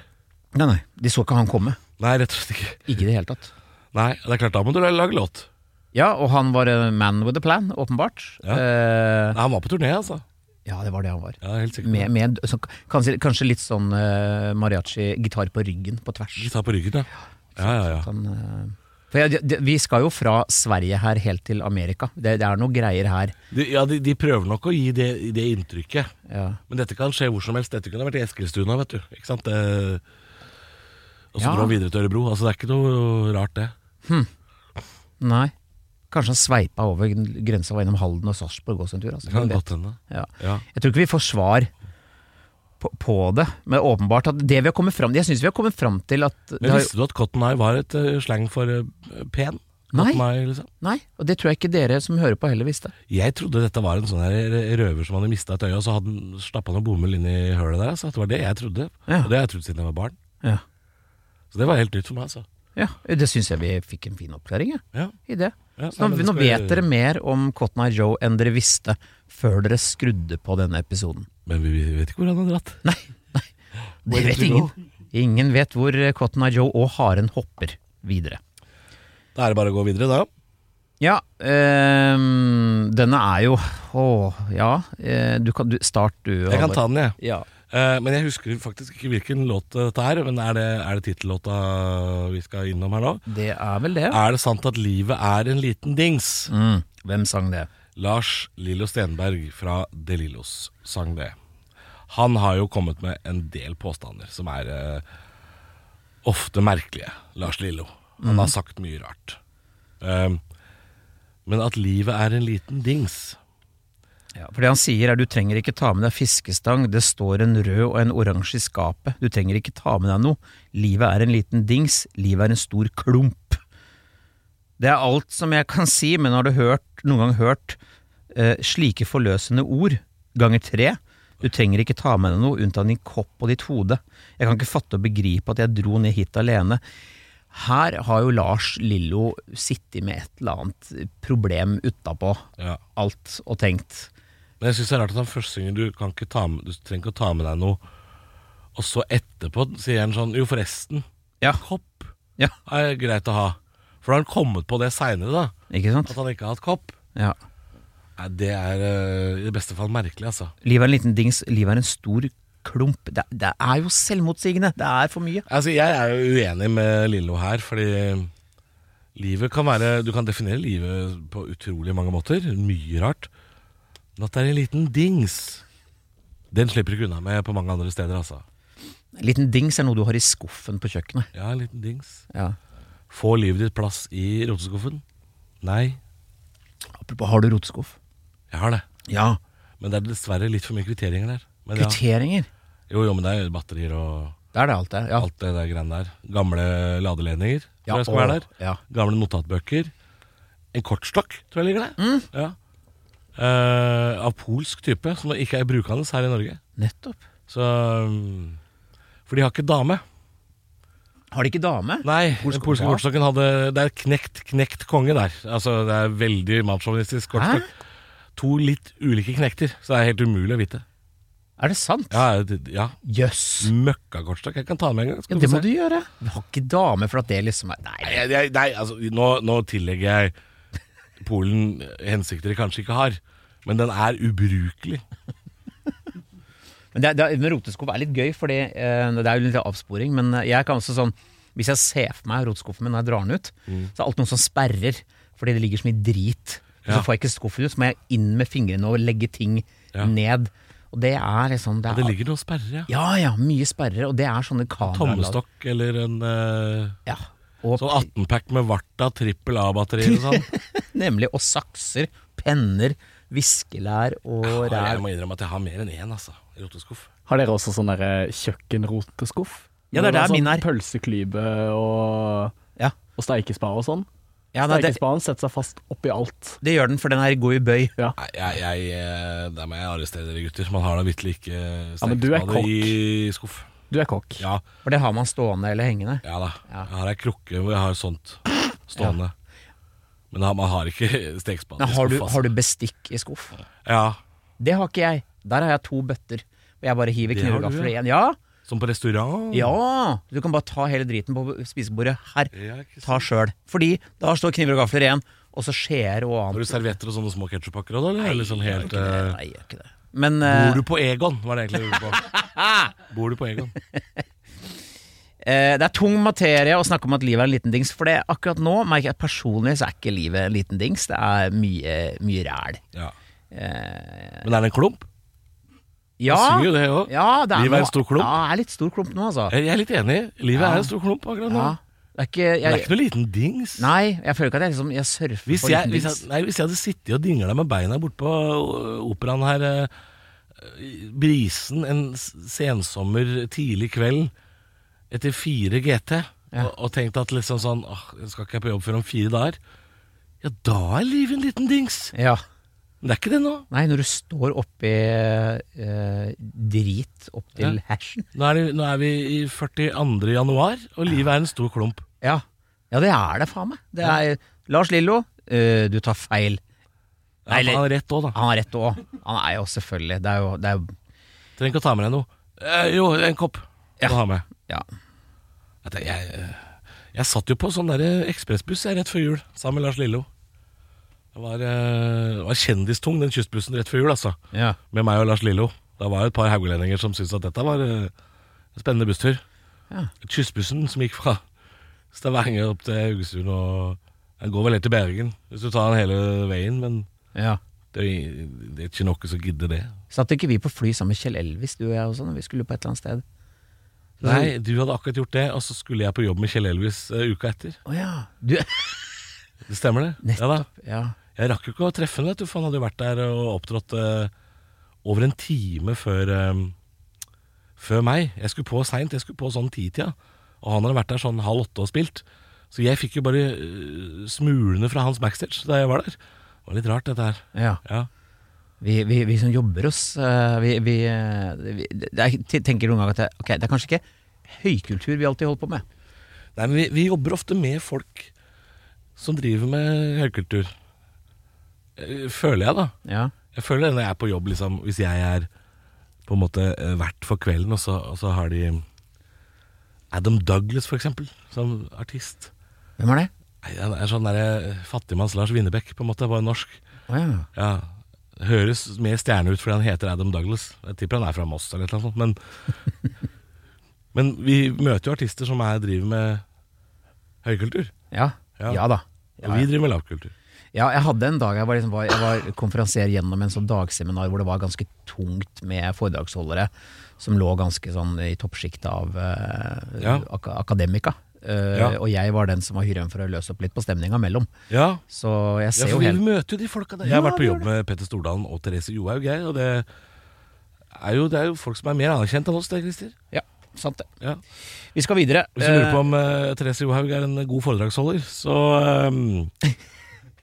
Speaker 3: Nei, nei, De så ikke han komme.
Speaker 2: Nei, rett og slett ikke.
Speaker 3: Ikke i det hele tatt.
Speaker 2: Nei, det er klart, da må du lage låt.
Speaker 3: Ja, og han var eh, man with a plan, åpenbart.
Speaker 2: Ja.
Speaker 3: Eh,
Speaker 2: Nei, han var på turné, altså.
Speaker 3: ja det var det han var.
Speaker 2: Ja, helt sikkert.
Speaker 3: Med, med så, kanskje, kanskje litt sånn eh, mariachi-gitar på ryggen, på tvers.
Speaker 2: Gitar på ryggen, ja. Ja, ja, ja.
Speaker 3: Sånn, eh, for jeg, det- vi skal jo fra Sverige her helt til Amerika. Det, det er noe greier her.
Speaker 2: De, ja, de, de prøver nok å gi det, det inntrykket.
Speaker 3: Ja.
Speaker 2: Men dette kan skje hvor som helst. Dette kunne vært i Eskilstuna, vet du. Ikke sant? Det, og så
Speaker 3: Ja.
Speaker 2: dro han videre til Ørebro. Altså, det er ikke noe rart, det.
Speaker 3: Nei. Kanskje han sveipa over gren- grensa og var innom Halden og Sarpsborg også en tur. Altså.
Speaker 2: Det kan
Speaker 3: Hvem vet?
Speaker 2: godt hende.
Speaker 3: Ja.
Speaker 2: Ja.
Speaker 3: Jeg tror ikke vi får svar på, på det, men åpenbart at det vi har kommet fram Jeg syns vi har kommet fram til at det
Speaker 2: Men
Speaker 3: har,
Speaker 2: visste du at Cotton Eye var et eh, slang for eh, pen?
Speaker 3: Nei.
Speaker 2: Cotton Eye, liksom.
Speaker 3: Nei, og det tror jeg ikke dere som hører på heller visste.
Speaker 2: Jeg trodde dette var en sånn her røver som hadde mista et øye, og så hadde han stappa noe bomull inn i hølet der. Altså. Det var det jeg trodde.
Speaker 3: Ja.
Speaker 2: Og det har jeg trodd siden jeg var barn.
Speaker 3: Ja,
Speaker 2: Så det var helt nytt for meg, altså.
Speaker 3: ja Det syns jeg vi fikk en fin oppklaring jeg,
Speaker 2: Ja.
Speaker 3: i det.
Speaker 2: Ja,
Speaker 3: Så
Speaker 2: nei,
Speaker 3: nå,
Speaker 2: men det
Speaker 3: nå
Speaker 2: skal
Speaker 3: vet
Speaker 2: jeg-
Speaker 3: dere mer om Cotton Eye Joe enn dere visste før dere skrudde på denne episoden.
Speaker 2: Men vi vi vet ikke hvor han har dratt.
Speaker 3: Nei, nei.
Speaker 2: Where did
Speaker 3: det vet
Speaker 2: we go?
Speaker 3: ingen. Ingen vet hvor Cotton Eye Joe og haren hopper videre.
Speaker 2: Da er det bare å gå videre, da.
Speaker 3: Ja, ehm, denne er jo Å, ja. eh, Du kan du, Start du.
Speaker 2: Jeg kan
Speaker 3: Halvor.
Speaker 2: ta den, jeg.
Speaker 3: Ja.
Speaker 2: Eh, men jeg husker faktisk ikke hvilken låt dette er. Men er det, er det tittellåta vi skal innom her nå?
Speaker 3: Det er vel det.
Speaker 2: Er det sant at livet er en liten dings?
Speaker 3: Mm. Hvem sang det?
Speaker 2: Lars Lillo Stenberg fra De Lillos sang det. Han har jo kommet med en del påstander som er eh, ofte merkelige. Lars Lillo. Han har sagt mye rart. Eh, men at livet er en liten dings
Speaker 3: Ja, for det han sier er du trenger ikke ta med deg fiskestang, det står en rød og en oransje i skapet. Du trenger ikke ta med deg noe. Livet er en liten dings, livet er en stor klump. Det er alt som jeg kan si, men har du hørt, noen gang hørt eh, slike forløsende ord ganger tre? Du trenger ikke ta med deg noe unntatt din kopp og ditt hode. Jeg kan ikke fatte og begripe at jeg dro ned hit alene. Her har jo Lars Lillo sittet med et eller annet problem utapå
Speaker 2: Ja.
Speaker 3: alt og tenkt.
Speaker 2: Men jeg synes det er rart at han først synger du, kan ikke ta med, du trenger ikke å ta med deg noe Og så etterpå sier han sånn Jo forresten,
Speaker 3: Ja.
Speaker 2: kopp
Speaker 3: Ja,
Speaker 2: er greit å ha For da har han kommet på det senere da
Speaker 3: ikke sant?
Speaker 2: At han ikke har hatt kopp
Speaker 3: Ja.
Speaker 2: Nei, Det er eh, i det beste fall merkelig altså
Speaker 3: Livet er en liten dings, livet er en stor klump. Det, det er jo selvmotsigende, det er for mye.
Speaker 2: Altså jeg er jo uenig med Lillo her Fordi livet kan være Du kan definere livet på utrolig mange måter Mye rart Men at det er en liten dings Den slipper du ikke unna med på mange andre steder altså
Speaker 3: En liten dings er noe du har i skuffen på kjøkkenet.
Speaker 2: Ja, en liten dings
Speaker 3: Ja.
Speaker 2: Får livet ditt plass i roteskuffen? Nei,
Speaker 3: Apropos, har du roteskuff?
Speaker 2: jeg har det.
Speaker 3: Ja.
Speaker 2: Men det er dessverre litt for mye kvitteringer der. Men ja.
Speaker 3: Kvitteringer.
Speaker 2: Jo, jo, men det er jo batterier og
Speaker 3: Det er det alt det. Ja.
Speaker 2: alt det der greiene der. Gamle ladeledninger tror
Speaker 3: Ja,
Speaker 2: jeg skal
Speaker 3: og-
Speaker 2: være der.
Speaker 3: ja.
Speaker 2: Gamle notatbøker. En kortstokk tror jeg ligger der.
Speaker 3: Mm.
Speaker 2: Ja. Eh, av polsk type, som ikke er brukende her i Norge.
Speaker 3: Nettopp.
Speaker 2: Så mm, For de har ikke dame.
Speaker 3: Har de ikke dame?
Speaker 2: Nei,
Speaker 3: Polsk-
Speaker 2: den polske
Speaker 3: hva?
Speaker 2: kortstokken hadde Det er knekt, knekt konge der. Altså, det er veldig mannssjåvinistisk kortstokk. To litt ulike knekter, så det er helt umulig å vite.
Speaker 3: Er det sant?
Speaker 2: Ja, det- ja.
Speaker 3: Jøss.
Speaker 2: Møkkakortstokk. Jeg kan ta den med en gang.
Speaker 3: Ja,
Speaker 2: skal
Speaker 3: det
Speaker 2: få
Speaker 3: må
Speaker 2: se.
Speaker 3: du gjøre. Vi har ikke dame for at det liksom er Nei.
Speaker 2: Nei, jeg- jeg- nei, altså, nå, nå tillegger jeg Polen hensikter de kanskje ikke har, men den er ubrukelig.
Speaker 3: Men det, det, men roteskuff er litt gøy, fordi eh, det er jo litt avsporing. Men eh, jeg kan også sånn Hvis jeg ser for meg roteskuffen min når jeg drar den ut,
Speaker 2: Mm.
Speaker 3: så er det alltid noen som sperrer fordi det ligger så mye drit. Og
Speaker 2: Ja.
Speaker 3: Så får jeg ikke skuffen ut, så må jeg inn med fingrene og legge ting
Speaker 2: Ja.
Speaker 3: ned. Og det er liksom det
Speaker 2: Ja,
Speaker 3: er,
Speaker 2: det ligger noen sperrer, ja.
Speaker 3: Ja ja, mye sperrer, og det er sånne kameraer.
Speaker 2: Tommestokk eller en eh,
Speaker 3: Ja. Og,
Speaker 2: sånn 18-pack med Varta trippel A-batterier og sånn.
Speaker 3: nemlig. Og sakser, penner, viskelær og
Speaker 2: Og Jeg
Speaker 3: ræv.
Speaker 2: må innrømme at jeg har mer enn én, altså. Roteskuff.
Speaker 1: Har dere også sånn der, eh, kjøkkenroteskuff?
Speaker 3: Ja, det er der
Speaker 1: sånn
Speaker 3: min er.
Speaker 1: Pølseklype og,
Speaker 3: Ja.
Speaker 1: og steikespade og sånn?
Speaker 3: Ja, nei, det,
Speaker 1: Sterke spaden setter seg fast oppi alt.
Speaker 3: det gjør den, for den er god i bøy.
Speaker 1: Ja.
Speaker 2: Nei, jeg, jeg, eh, der må jeg arrestere dere, gutter. Man har da vitterlig ikke eh,
Speaker 1: men du er
Speaker 2: stekespade i skuff.
Speaker 1: Du er kokk.
Speaker 2: Ja,
Speaker 3: For det har man stående eller hengende.
Speaker 2: ja da.
Speaker 3: Ja.
Speaker 2: Jeg har ei krukke hvor jeg har sånt stående. Men da- man har ikke stekespade
Speaker 3: Nei,
Speaker 2: i
Speaker 3: har, du,
Speaker 2: skuff. altså.
Speaker 3: har du bestikk i skuff?
Speaker 2: Ja,
Speaker 3: Det har ikke jeg. Der har jeg to bøtter. Og jeg bare hiver
Speaker 2: Det har
Speaker 3: kniver
Speaker 2: du,
Speaker 3: og gafler i
Speaker 2: ja.
Speaker 3: én. Ja.
Speaker 2: Som på restaurant?
Speaker 3: ja! Du kan bare ta hele driten på spisebordet her.
Speaker 2: Ja, ikke sant.
Speaker 3: Ta sjøl. Fordi da står kniver og gafler igjen, og så skjeer og
Speaker 2: Har du
Speaker 3: annet.
Speaker 2: servietter og sånne små ketsjuppakker òg, eller? Eller sånn
Speaker 3: Nei,
Speaker 2: helt
Speaker 3: jeg gjør ikke det.
Speaker 2: eh,
Speaker 3: Nei, jeg gjør ikke det. Men eh,
Speaker 2: Bor du på Egon, var det egentlig jeg lurte på. Bor du på Egon?
Speaker 3: eh, det er tung materie å snakke om at livet er en liten dings, for det akkurat nå merker jeg at personlig så er ikke livet en liten dings, det er mye, mye ræl.
Speaker 2: Ja.
Speaker 3: Eh,
Speaker 2: Men er det en klump?
Speaker 3: ja,
Speaker 2: Jeg synger jo det òg.
Speaker 3: ja, det er
Speaker 2: Livet er en
Speaker 3: noe-
Speaker 2: stor klump.
Speaker 3: Ja, det er litt stor klump nå, altså.
Speaker 2: Jeg jeg er litt enig. Livet
Speaker 3: Ja.
Speaker 2: er en stor klump akkurat nå.
Speaker 3: Ja, det er ikke,
Speaker 2: Men det er
Speaker 3: jeg,
Speaker 2: ikke noe liten dings.
Speaker 3: nei, jeg føler ikke at jeg, liksom, jeg surfer
Speaker 2: Hvis
Speaker 3: på
Speaker 2: jeg,
Speaker 3: liten
Speaker 2: hvis,
Speaker 3: dings.
Speaker 2: jeg, nei, hvis jeg hadde sittet og dingla med beina bortpå operaen her eh, i Brisen en s- sensommer, tidlig kveld etter fire GT, og, og tenkt at liksom sånn Åh, jeg skal ikke på jobb før om fire dager. Ja, da er livet en liten dings.
Speaker 3: Ja.
Speaker 2: Men det er ikke det nå.
Speaker 3: Nei, når du står oppi eh, drit opp til
Speaker 2: Ja.
Speaker 3: hashen.
Speaker 2: Nå er, det, nå er vi i 42. januar, og livet er en stor klump.
Speaker 3: Ja. ja, det er det, faen meg. Det er, Lars Lillo, eh, du tar feil.
Speaker 2: Ja,
Speaker 3: Nei, eller-
Speaker 2: han har rett òg, da.
Speaker 3: Han har rett òg. Han er jo selvfølgelig Det er jo, det er jo
Speaker 2: Trenger ikke å ta med deg noe. Eh, jo, en kopp.
Speaker 3: Ja.
Speaker 2: Må ha med.
Speaker 3: ja.
Speaker 2: At Jeg, jeg, jeg satt jo på sånn der ekspressbuss jeg, rett før jul, sammen med Lars Lillo. Det var, eh, det var kjendistung, den kystbussen rett før jul, altså.
Speaker 3: ja.
Speaker 2: Med meg og Lars Lillo. Da var jo et par haugalendinger som syntes at dette var eh, en spennende busstur.
Speaker 3: Ja.
Speaker 2: Kystbussen som gikk fra Stavanger opp til Haugesund og Den går vel helt til Bergen, hvis du tar den hele veien, men
Speaker 3: ja.
Speaker 2: det er, det er ikke noe som gidder det.
Speaker 3: Satt ikke vi på fly sammen med Kjell Elvis, du og jeg også, når vi skulle på et eller annet sted?
Speaker 2: Nei, du hadde akkurat gjort det, og så skulle jeg på jobb med Kjell Elvis eh, uka etter.
Speaker 3: Å ja. Du,
Speaker 2: Det stemmer, det? Ja da.
Speaker 3: ja.
Speaker 2: Jeg rakk jo ikke å treffe henne, vet du, for han hadde jo vært der og opptrådt eh, over en time før, eh, før meg. Jeg skulle på seint, jeg skulle på sånn titida. Og han hadde vært der sånn halv åtte og spilt. Så jeg fikk jo bare eh, smulene fra hans backstage da jeg var der. Det var litt rart, dette her.
Speaker 3: ja.
Speaker 2: Ja.
Speaker 3: Vi, vi, vi som jobber oss eh, vi, vi, eh, vi, det er, Jeg tenker noen ganger at det, ok, det er kanskje ikke høykultur vi alltid holder på med.
Speaker 2: Nei, men vi, vi jobber ofte med folk som driver med høykultur. Eh, Føler jeg, da.
Speaker 3: Ja.
Speaker 2: Jeg føler det når jeg er på jobb, liksom, hvis jeg er på en måte eh, vert for kvelden, og så, og så har de Adam Douglas, for eksempel, som artist.
Speaker 3: Hvem er det?
Speaker 2: Nei, Han er sånn derre fattigmanns Lars Winnebekk, på en måte, bare norsk.
Speaker 3: Å ja.
Speaker 2: Ja, Høres mer stjerne ut fordi han heter Adam Douglas. Jeg tipper han er fra Moss eller noe sånt, men Men vi møter jo artister som er, driver med høykultur.
Speaker 3: Ja,
Speaker 2: Ja.
Speaker 3: ja. da.
Speaker 2: Og vi driver med lavkultur.
Speaker 3: Ja, jeg hadde en dag jeg var, liksom, var, jeg var konferansier gjennom en sånn dagseminar hvor det var ganske tungt med foredragsholdere som lå ganske sånn i toppsjikt av eh,
Speaker 2: Ja.
Speaker 3: ak akademika. Eh,
Speaker 2: Ja.
Speaker 3: Og jeg var den som var hyren for å løse opp litt på stemninga mellom.
Speaker 2: Ja,
Speaker 3: Så jeg
Speaker 2: Ja,
Speaker 3: ser
Speaker 2: for
Speaker 3: jo
Speaker 2: vi
Speaker 3: helt
Speaker 2: møter jo de folka der. Jeg har vært på jobb med Petter Stordalen og Therese Johaug, jeg. Og det er, jo, det er jo folk som er mer anerkjent enn oss, det, Christer.
Speaker 3: Ja, sant det.
Speaker 2: Ja.
Speaker 3: Vi skal videre.
Speaker 2: Hvis du lurer
Speaker 3: Eh,
Speaker 2: på om eh, Therese Johaug er en god foredragsholder, så eh,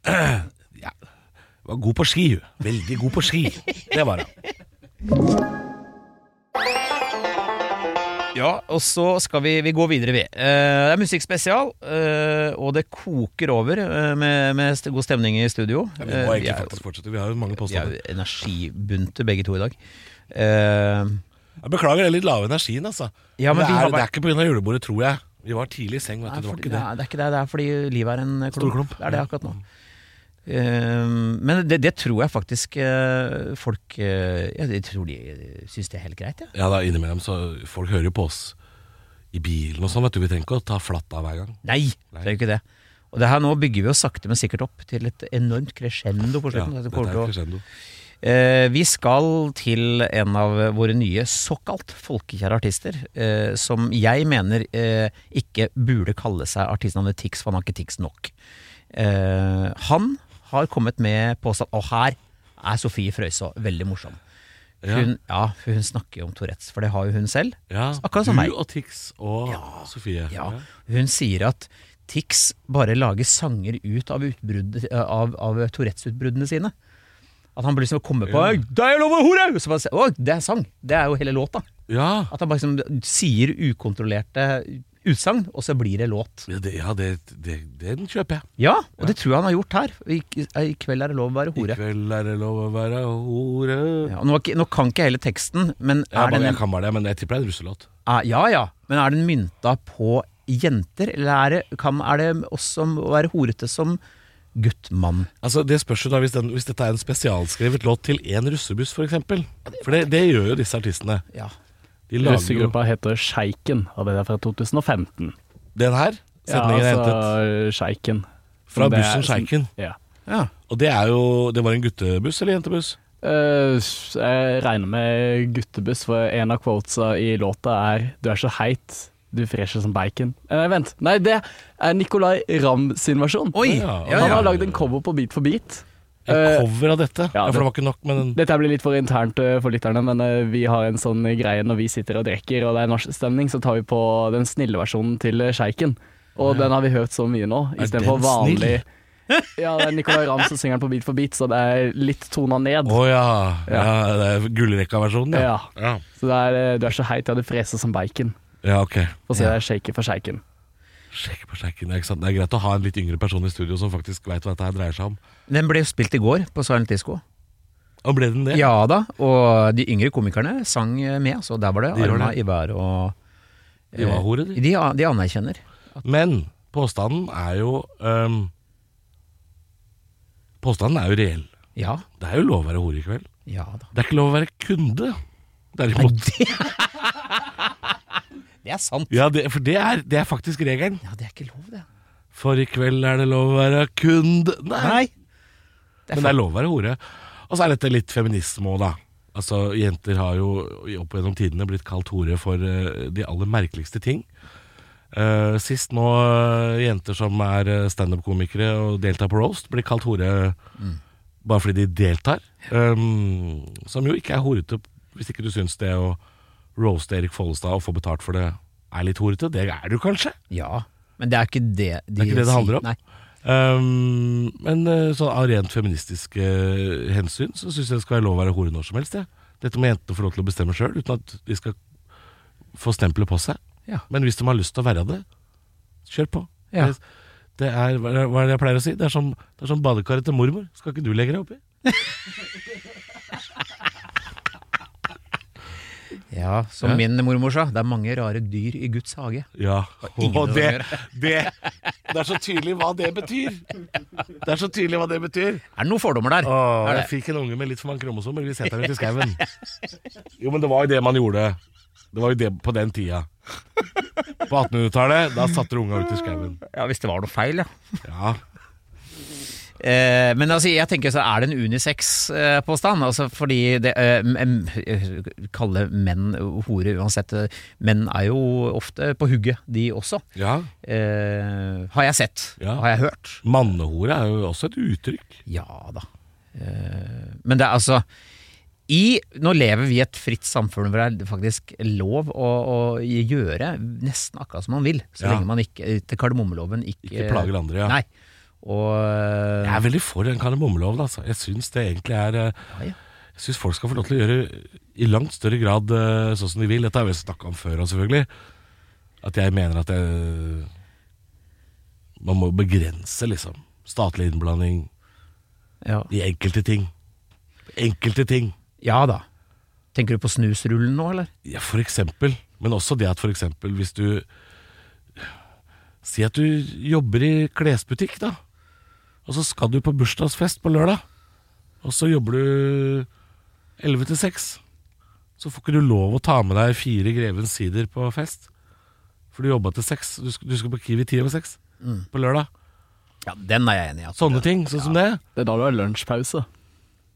Speaker 2: Ja. Var god på ski, hun. Veldig god på ski. Det var hun.
Speaker 3: Ja, og så skal vi, vi gå videre, vi. Eh, det er musikkspesial, eh, og det koker over eh, med, med st- god stemning i studio.
Speaker 2: Ja, vi
Speaker 3: Eh,
Speaker 2: må
Speaker 3: vi
Speaker 2: egentlig
Speaker 3: er jo-
Speaker 2: faktisk fortsette. Vi har jo mange
Speaker 3: Vi er
Speaker 2: påstander.
Speaker 3: jo energibunte begge to i dag. Eh,
Speaker 2: Jeg beklager den litt lave energien, altså.
Speaker 3: Ja, men
Speaker 2: det, er,
Speaker 3: vi har vært-
Speaker 2: det er ikke pga. julebordet, tror jeg. Vi var tidlig i seng, vet du. Det var ikke det.
Speaker 3: Nei, det er ikke det. Det er fordi livet er en klump.
Speaker 2: Stor klump.
Speaker 3: Det er det akkurat nå. Eh, men det, det tror jeg faktisk eh, folk eh, ja, Jeg tror de syns det er helt greit, jeg.
Speaker 2: Ja da, innimellom så Folk hører jo på oss i bilen og sånn, vet du. Vi trenger ikke å ta flatt av hver gang.
Speaker 3: Nei,
Speaker 2: Nei.
Speaker 3: det er jo ikke det. Og det her nå bygger vi jo sakte, men sikkert opp til et enormt crescendo på slutten. Dette kommer til å-
Speaker 2: crescendo.
Speaker 3: Eh, vi skal til en av våre nye såkalt folkekjære artister, eh, som jeg mener eh, ikke burde kalle seg artistnavnet Tix, for han har ikke Tix nok. Eh, han har kommet med påstand Og her er Sofie Frøysaa veldig morsom.
Speaker 2: Ja.
Speaker 3: Hun, ja, for hun snakker jo om Tourettes, for det har jo hun selv.
Speaker 2: Ja,
Speaker 3: Akkurat som meg.
Speaker 2: Du og Tix og Sofie.
Speaker 3: Ja, hun sier at Tix bare lager sanger ut av, utbrudd- av, av Tourettes-utbruddene sine. At han blir liksom å komme på
Speaker 2: Ja.
Speaker 3: 'Det er lov å hore!' Så bare, se- å, det er sang. Det er jo hele låta.
Speaker 2: Ja,
Speaker 3: At han bare liksom sier ukontrollerte utsagn, og så blir det låt.
Speaker 2: ja, det, ja det, det, den kjøper jeg.
Speaker 3: Ja, og det tror jeg han har gjort her. I, i kveld er det lov å være
Speaker 2: I
Speaker 3: hore.
Speaker 2: kveld er det lov å være hore.
Speaker 3: Ja, og nå, er ikke- nå kan ikke jeg hele teksten, men
Speaker 2: Jeg,
Speaker 3: er,
Speaker 2: bare,
Speaker 3: den,
Speaker 2: jeg kan bare det, men jeg tipper det er en russelåt.
Speaker 3: er, ja, ja, men er den mynta på jenter, eller er det, kan, er det også å være horete som gutt, mann?
Speaker 2: Altså, det spørs jo da hvis, den, hvis dette er en spesialskrevet låt til én russebuss, f.eks. For, eksempel. for det, det gjør jo disse artistene.
Speaker 3: Ja.
Speaker 2: De lager jo
Speaker 1: Russegruppa heter Sjeiken, og det er fra 2015.
Speaker 2: den her. Sendingen
Speaker 3: altså-
Speaker 2: er hentet
Speaker 1: Sjeiken.
Speaker 2: fra
Speaker 1: Som det er-
Speaker 2: bussen Sjeiken.
Speaker 1: Ja.
Speaker 3: ja.
Speaker 2: Og det er jo Det var en guttebuss eller jentebuss?
Speaker 1: Eh, jeg regner med guttebuss, for en av quotesa i låta er 'Du er så heit, du fresher som bacon'. Eh, Nei, vent. Nei, det er Nicolay Ramm sin versjon.
Speaker 3: Oi!
Speaker 2: Ja,
Speaker 3: Ja,
Speaker 1: Han
Speaker 3: ja.
Speaker 1: har lagd en cover på Beat for beat.
Speaker 2: En
Speaker 1: Eh,
Speaker 2: cover av dette? Ja, for
Speaker 1: ja, det-
Speaker 2: det var ikke nok med den
Speaker 1: Dette blir litt for internt eh, for lytterne, men eh, vi har en sånn greie når vi sitter og drikker og det er nachstemning, så tar vi på den snille versjonen til eh, sjeiken. Og den har vi hørt så mye nå,
Speaker 2: Er
Speaker 1: istedenfor
Speaker 2: den
Speaker 1: vanlig Ja, det er Nicolay Ramm som synger den på Beat for beat, så det er litt tona ned.
Speaker 2: Å ja. ja.
Speaker 1: Ja.
Speaker 2: det er Gullrekka-versjonen, ja.
Speaker 1: Ja,
Speaker 2: ja.
Speaker 1: så det er eh, Du er så heit, ja, det freser som bacon.
Speaker 2: Ja, ok.
Speaker 1: Og så
Speaker 3: Ja.
Speaker 1: er det shaker for sjeiken.
Speaker 2: Sjekk på sjekken, ikke sant? Det er greit å ha en litt yngre person i studio som faktisk veit hva dette her dreier seg om.
Speaker 3: Den ble jo spilt i går på Silent Disco.
Speaker 2: Og ble den det?
Speaker 3: Ja da, og de yngre komikerne sang med, så der var det
Speaker 2: De gjør
Speaker 3: Arna
Speaker 2: det.
Speaker 3: Ivar og
Speaker 2: De var hore, de.
Speaker 3: de, de anerkjenner.
Speaker 2: Men påstanden er jo ehm, Påstanden er jo reell.
Speaker 3: Ja,
Speaker 2: Det er jo lov å være hore i kveld.
Speaker 3: ja da.
Speaker 2: Det er ikke lov å være kunde, derimot.
Speaker 3: Det er sant.
Speaker 2: Ja, det, for det er, det er faktisk regelen.
Speaker 3: Ja, det er ikke lov, det.
Speaker 2: For i kveld er det lov å være kunde Nei,
Speaker 3: Det er
Speaker 2: men det er lov å være hore. Og så er dette litt feminisme òg, da. Altså, Jenter har jo opp gjennom tidene blitt kalt hore for eh, de aller merkeligste ting. Eh, sist nå eh, jenter som er eh, standup-komikere og deltar på roast, blir kalt hore bare fordi de deltar. Um, som jo ikke er horete, hvis ikke du syns det å roaste Erik Follestad og få betalt for det er litt horete. Det er du kanskje?
Speaker 3: Ja, men det er ikke det de
Speaker 2: Det er ikke det det
Speaker 3: sier.
Speaker 2: handler om.
Speaker 3: Nei.
Speaker 2: Um, men eh, sånn av rent feministiske eh, hensyn så syns jeg det skal være lov å være hore når som helst. jeg. Dette må jentene få lov til å bestemme sjøl, uten at de skal få stempelet på seg.
Speaker 3: Ja.
Speaker 2: Men hvis de har lyst til å være det, kjør på.
Speaker 3: Ja.
Speaker 2: Det, det er, hva er det jeg pleier å si? Det er som, det er som badekaret til mormor. Skal ikke du legge deg oppi?
Speaker 3: Ja, som min mormor sa, det er mange rare dyr i Guds hage.
Speaker 2: Ja.
Speaker 3: ingen
Speaker 2: Og
Speaker 3: å
Speaker 2: det, det, det er så tydelig hva det betyr! Det er så tydelig hva det betyr.
Speaker 3: Er det noen fordommer der?
Speaker 2: Åh,
Speaker 3: er
Speaker 2: jeg fikk en unge med litt for mange kromosomer. Vi setter den ut i skauen. Jo, men det var jo det man gjorde. Det var jo det på den tida. På 1800-tallet, da satte du unga ut i skauen.
Speaker 3: Ja, Hvis det var noe feil, ja.
Speaker 2: Ja.
Speaker 3: Eh, men altså, jeg tenker så er det en unisex-påstand. altså fordi det eh, m- m- Kalle menn hore uansett. eh, Menn er jo ofte på hugget, de også.
Speaker 2: ja.
Speaker 3: Eh, har jeg sett.
Speaker 2: Ja.
Speaker 3: Har jeg hørt.
Speaker 2: Mannehore er jo også et uttrykk.
Speaker 3: Ja da. Eh, men det er altså i, Nå lever vi i et fritt samfunn hvor det er faktisk lov å, å gjøre nesten akkurat som man vil. Så
Speaker 2: Ja.
Speaker 3: lenge man ikke Til kardemommeloven ikke
Speaker 2: Ikke plager andre, ja.
Speaker 3: Nei. Og
Speaker 2: Jeg er veldig for den kardemommeloven, altså. Jeg syns det egentlig er eh,
Speaker 3: ja.
Speaker 2: Jeg syns folk skal få lov til å gjøre i langt større grad eh, sånn som de vil. Dette har vi snakka om før òg, selvfølgelig. At jeg mener at jeg, man må begrense, liksom. Statlig innblanding.
Speaker 3: Ja.
Speaker 2: I enkelte ting. Enkelte ting.
Speaker 3: ja da. Tenker du på snusrullen nå, eller?
Speaker 2: Ja, for eksempel. Men også det at for eksempel hvis du Si at du jobber i klesbutikk, da. Og så skal du på bursdagsfest på lørdag. Og så jobber du 11 til 6. Så får ikke du lov å ta med deg fire Grevens sider på fest. For du jobba til 6. Du skal, du skal på Kiwi 10 over 6 på lørdag.
Speaker 3: Ja, den er jeg enig i. Altså, at-
Speaker 2: Sånne ting. Sånn som det.
Speaker 1: Det er da du har lunsjpause.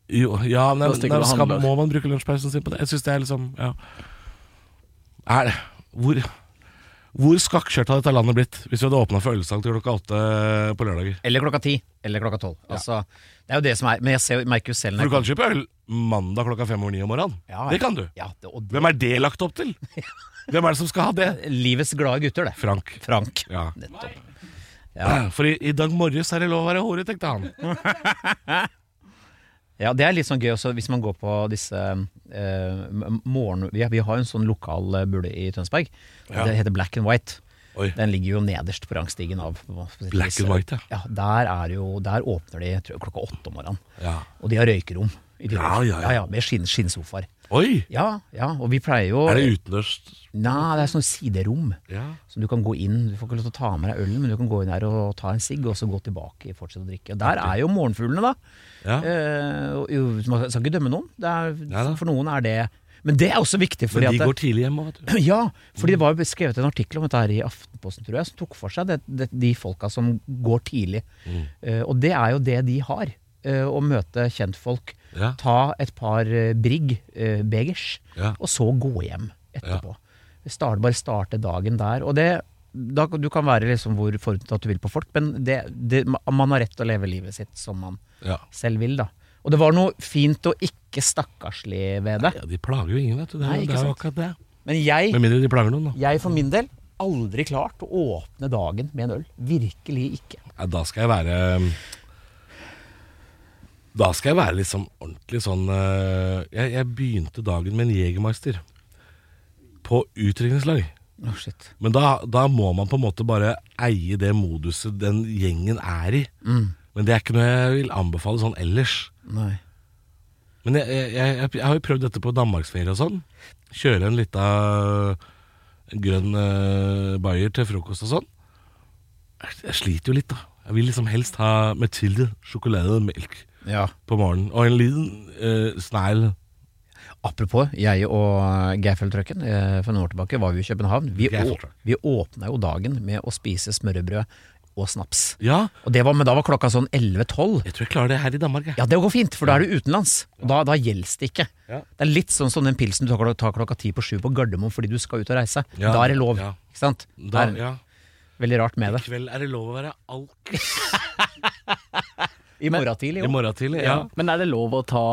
Speaker 2: Jo, ja, nei,
Speaker 1: Da stikker
Speaker 2: nei,
Speaker 1: du og
Speaker 2: skal,
Speaker 1: handler.
Speaker 2: må man bruke lunsjpausen sin på det? Jeg synes det er liksom ja. Er det Hvor, hvor skakkjørt hadde dette landet blitt hvis vi hadde åpna for ølsalg til klokka åtte på lørdager?
Speaker 3: Eller klokka ti. Eller klokka tolv. Altså, det er jo det som er Men jeg ser, jo- merker jo selv når
Speaker 2: For du
Speaker 3: jeg
Speaker 2: kan kjøpe øl mandag klokka fem over ni om morgenen.
Speaker 3: Ja, ja.
Speaker 2: Det kan du.
Speaker 3: Ja, det, og det,
Speaker 2: Hvem er det lagt opp til? Hvem er det som skal ha det?
Speaker 3: Livets glade gutter, det.
Speaker 2: Frank.
Speaker 3: Frank.
Speaker 2: Ja.
Speaker 3: Nettopp.
Speaker 2: For i, i dag morges er det lov å være hore, tenkte han.
Speaker 3: Ja, Det er litt sånn gøy også hvis man går på disse eh, m- morgen... Vi, vi har jo en sånn lokal eh, bule i Tønsberg. og
Speaker 2: Ja.
Speaker 3: Det heter Black and White.
Speaker 2: Oi.
Speaker 3: Den ligger jo nederst på rangstigen av på sitt
Speaker 2: Black
Speaker 3: vis.
Speaker 2: and white, ja.
Speaker 3: ja. Der, er jo, der åpner de tror jeg, klokka åtte om morgenen.
Speaker 2: Ja.
Speaker 3: Og de har røykerom. i tillegg.
Speaker 2: Ja, ja, ja.
Speaker 3: ja, med skinn, skinnsofaer.
Speaker 2: Oi!
Speaker 3: Ja, ja, og vi pleier jo
Speaker 2: Er det utendørs?
Speaker 3: Nei, det er sånn siderom.
Speaker 2: Ja.
Speaker 3: Som du kan gå inn, Du får ikke lov til å ta med deg ølen, men du kan gå inn her og ta en sigg, og så gå tilbake og fortsette å drikke. Og Der er jo morgenfuglene, da.
Speaker 2: Ja.
Speaker 3: Eh, og jo, man skal ikke dømme noen. Det er,
Speaker 2: da.
Speaker 3: for noen er det Men det er også viktig. Fordi
Speaker 2: Men de
Speaker 3: at
Speaker 2: går tidlig hjem òg, vet du.
Speaker 3: ja, fordi det var jo skrevet en artikkel om dette her i Aftenposten, tror jeg, som tok for seg det, det, de folka som går tidlig.
Speaker 2: Mm.
Speaker 3: Eh, og det er jo det de har. eh, å møte kjentfolk,
Speaker 2: Ja.
Speaker 3: ta et par eh, brigg, eh, begers,
Speaker 2: Ja.
Speaker 3: og så gå hjem etterpå. Start, bare starte dagen der. Og det da, kan- Du kan være liksom hvor forutinntatt du vil på folk, men det, det, man har rett til å leve livet sitt som man
Speaker 2: Ja.
Speaker 3: selv vil, da. Og det var noe fint og ikke stakkarslig ved det.
Speaker 2: ja, De plager jo ingen, vet du. Det er,
Speaker 3: Nei, ikke
Speaker 2: det er jo
Speaker 3: sant.
Speaker 2: akkurat det.
Speaker 3: Men jeg
Speaker 2: Med mindre de plager noen, da.
Speaker 3: Jeg for min del aldri klart å åpne dagen med en øl. Virkelig ikke.
Speaker 2: Ja, da skal jeg være um, Da skal jeg være liksom ordentlig sånn eh, Jeg, jeg begynte dagen med en Jegermeister på utdrikningslag.
Speaker 3: Å, shit.
Speaker 2: Men da, da må man på en måte bare eie det moduset den gjengen er i.
Speaker 3: Mm.
Speaker 2: Men det er ikke noe jeg vil anbefale sånn ellers.
Speaker 3: Nei.
Speaker 2: Men jeg, jeg, jeg, jeg har jo prøvd dette på danmarksferie og sånn. Kjøre en lita grønn eh, bayer til frokost og sånn. Jeg, jeg sliter jo litt, da. Jeg vil liksom helst ha Mathilde sjokolade og melk
Speaker 3: Ja.
Speaker 2: på morgenen. Og en liten uh, snegl.
Speaker 3: Apropos, jeg og Geifeltrucken eh, for noen år tilbake var vi i København. Vi, å,
Speaker 2: Gaffeltruck.
Speaker 3: vi åpna jo dagen med å spise smørrebrød og snaps.
Speaker 2: Ja,
Speaker 3: Og det var, men da var klokka sånn 11-12.
Speaker 2: jeg tror jeg klarer det her i Danmark, jeg.
Speaker 3: Ja, det går fint, for da er du utenlands. Og da, da gjelder det ikke.
Speaker 2: Ja.
Speaker 3: Det er litt sånn som den pilsen du tar klok- tar klokka ti på sju på Gardermoen fordi du skal ut og reise.
Speaker 2: Ja.
Speaker 3: Da er det lov.
Speaker 2: Ja.
Speaker 3: Ikke sant?
Speaker 2: Da,
Speaker 3: det er
Speaker 2: ja.
Speaker 3: veldig rart med
Speaker 2: I
Speaker 3: det.
Speaker 2: kveld er det lov å være alk
Speaker 3: I morgen tidlig,
Speaker 2: i
Speaker 3: jo.
Speaker 2: morgen tidlig. Ja.
Speaker 1: Men er det lov å ta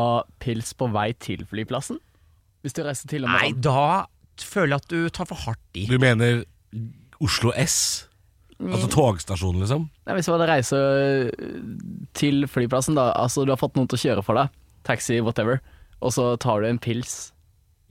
Speaker 1: pils på vei til flyplassen? Hvis du reiser til og
Speaker 3: Nei,
Speaker 1: med sånn-
Speaker 3: da føler jeg at du tar for hardt i.
Speaker 2: Du mener Oslo S?
Speaker 3: Mm.
Speaker 2: Altså togstasjonen, liksom?
Speaker 1: Nei, Hvis du hadde reise øh, til flyplassen, da Altså, du har fått noen til å kjøre for deg. Taxi, whatever. Og så tar du en pils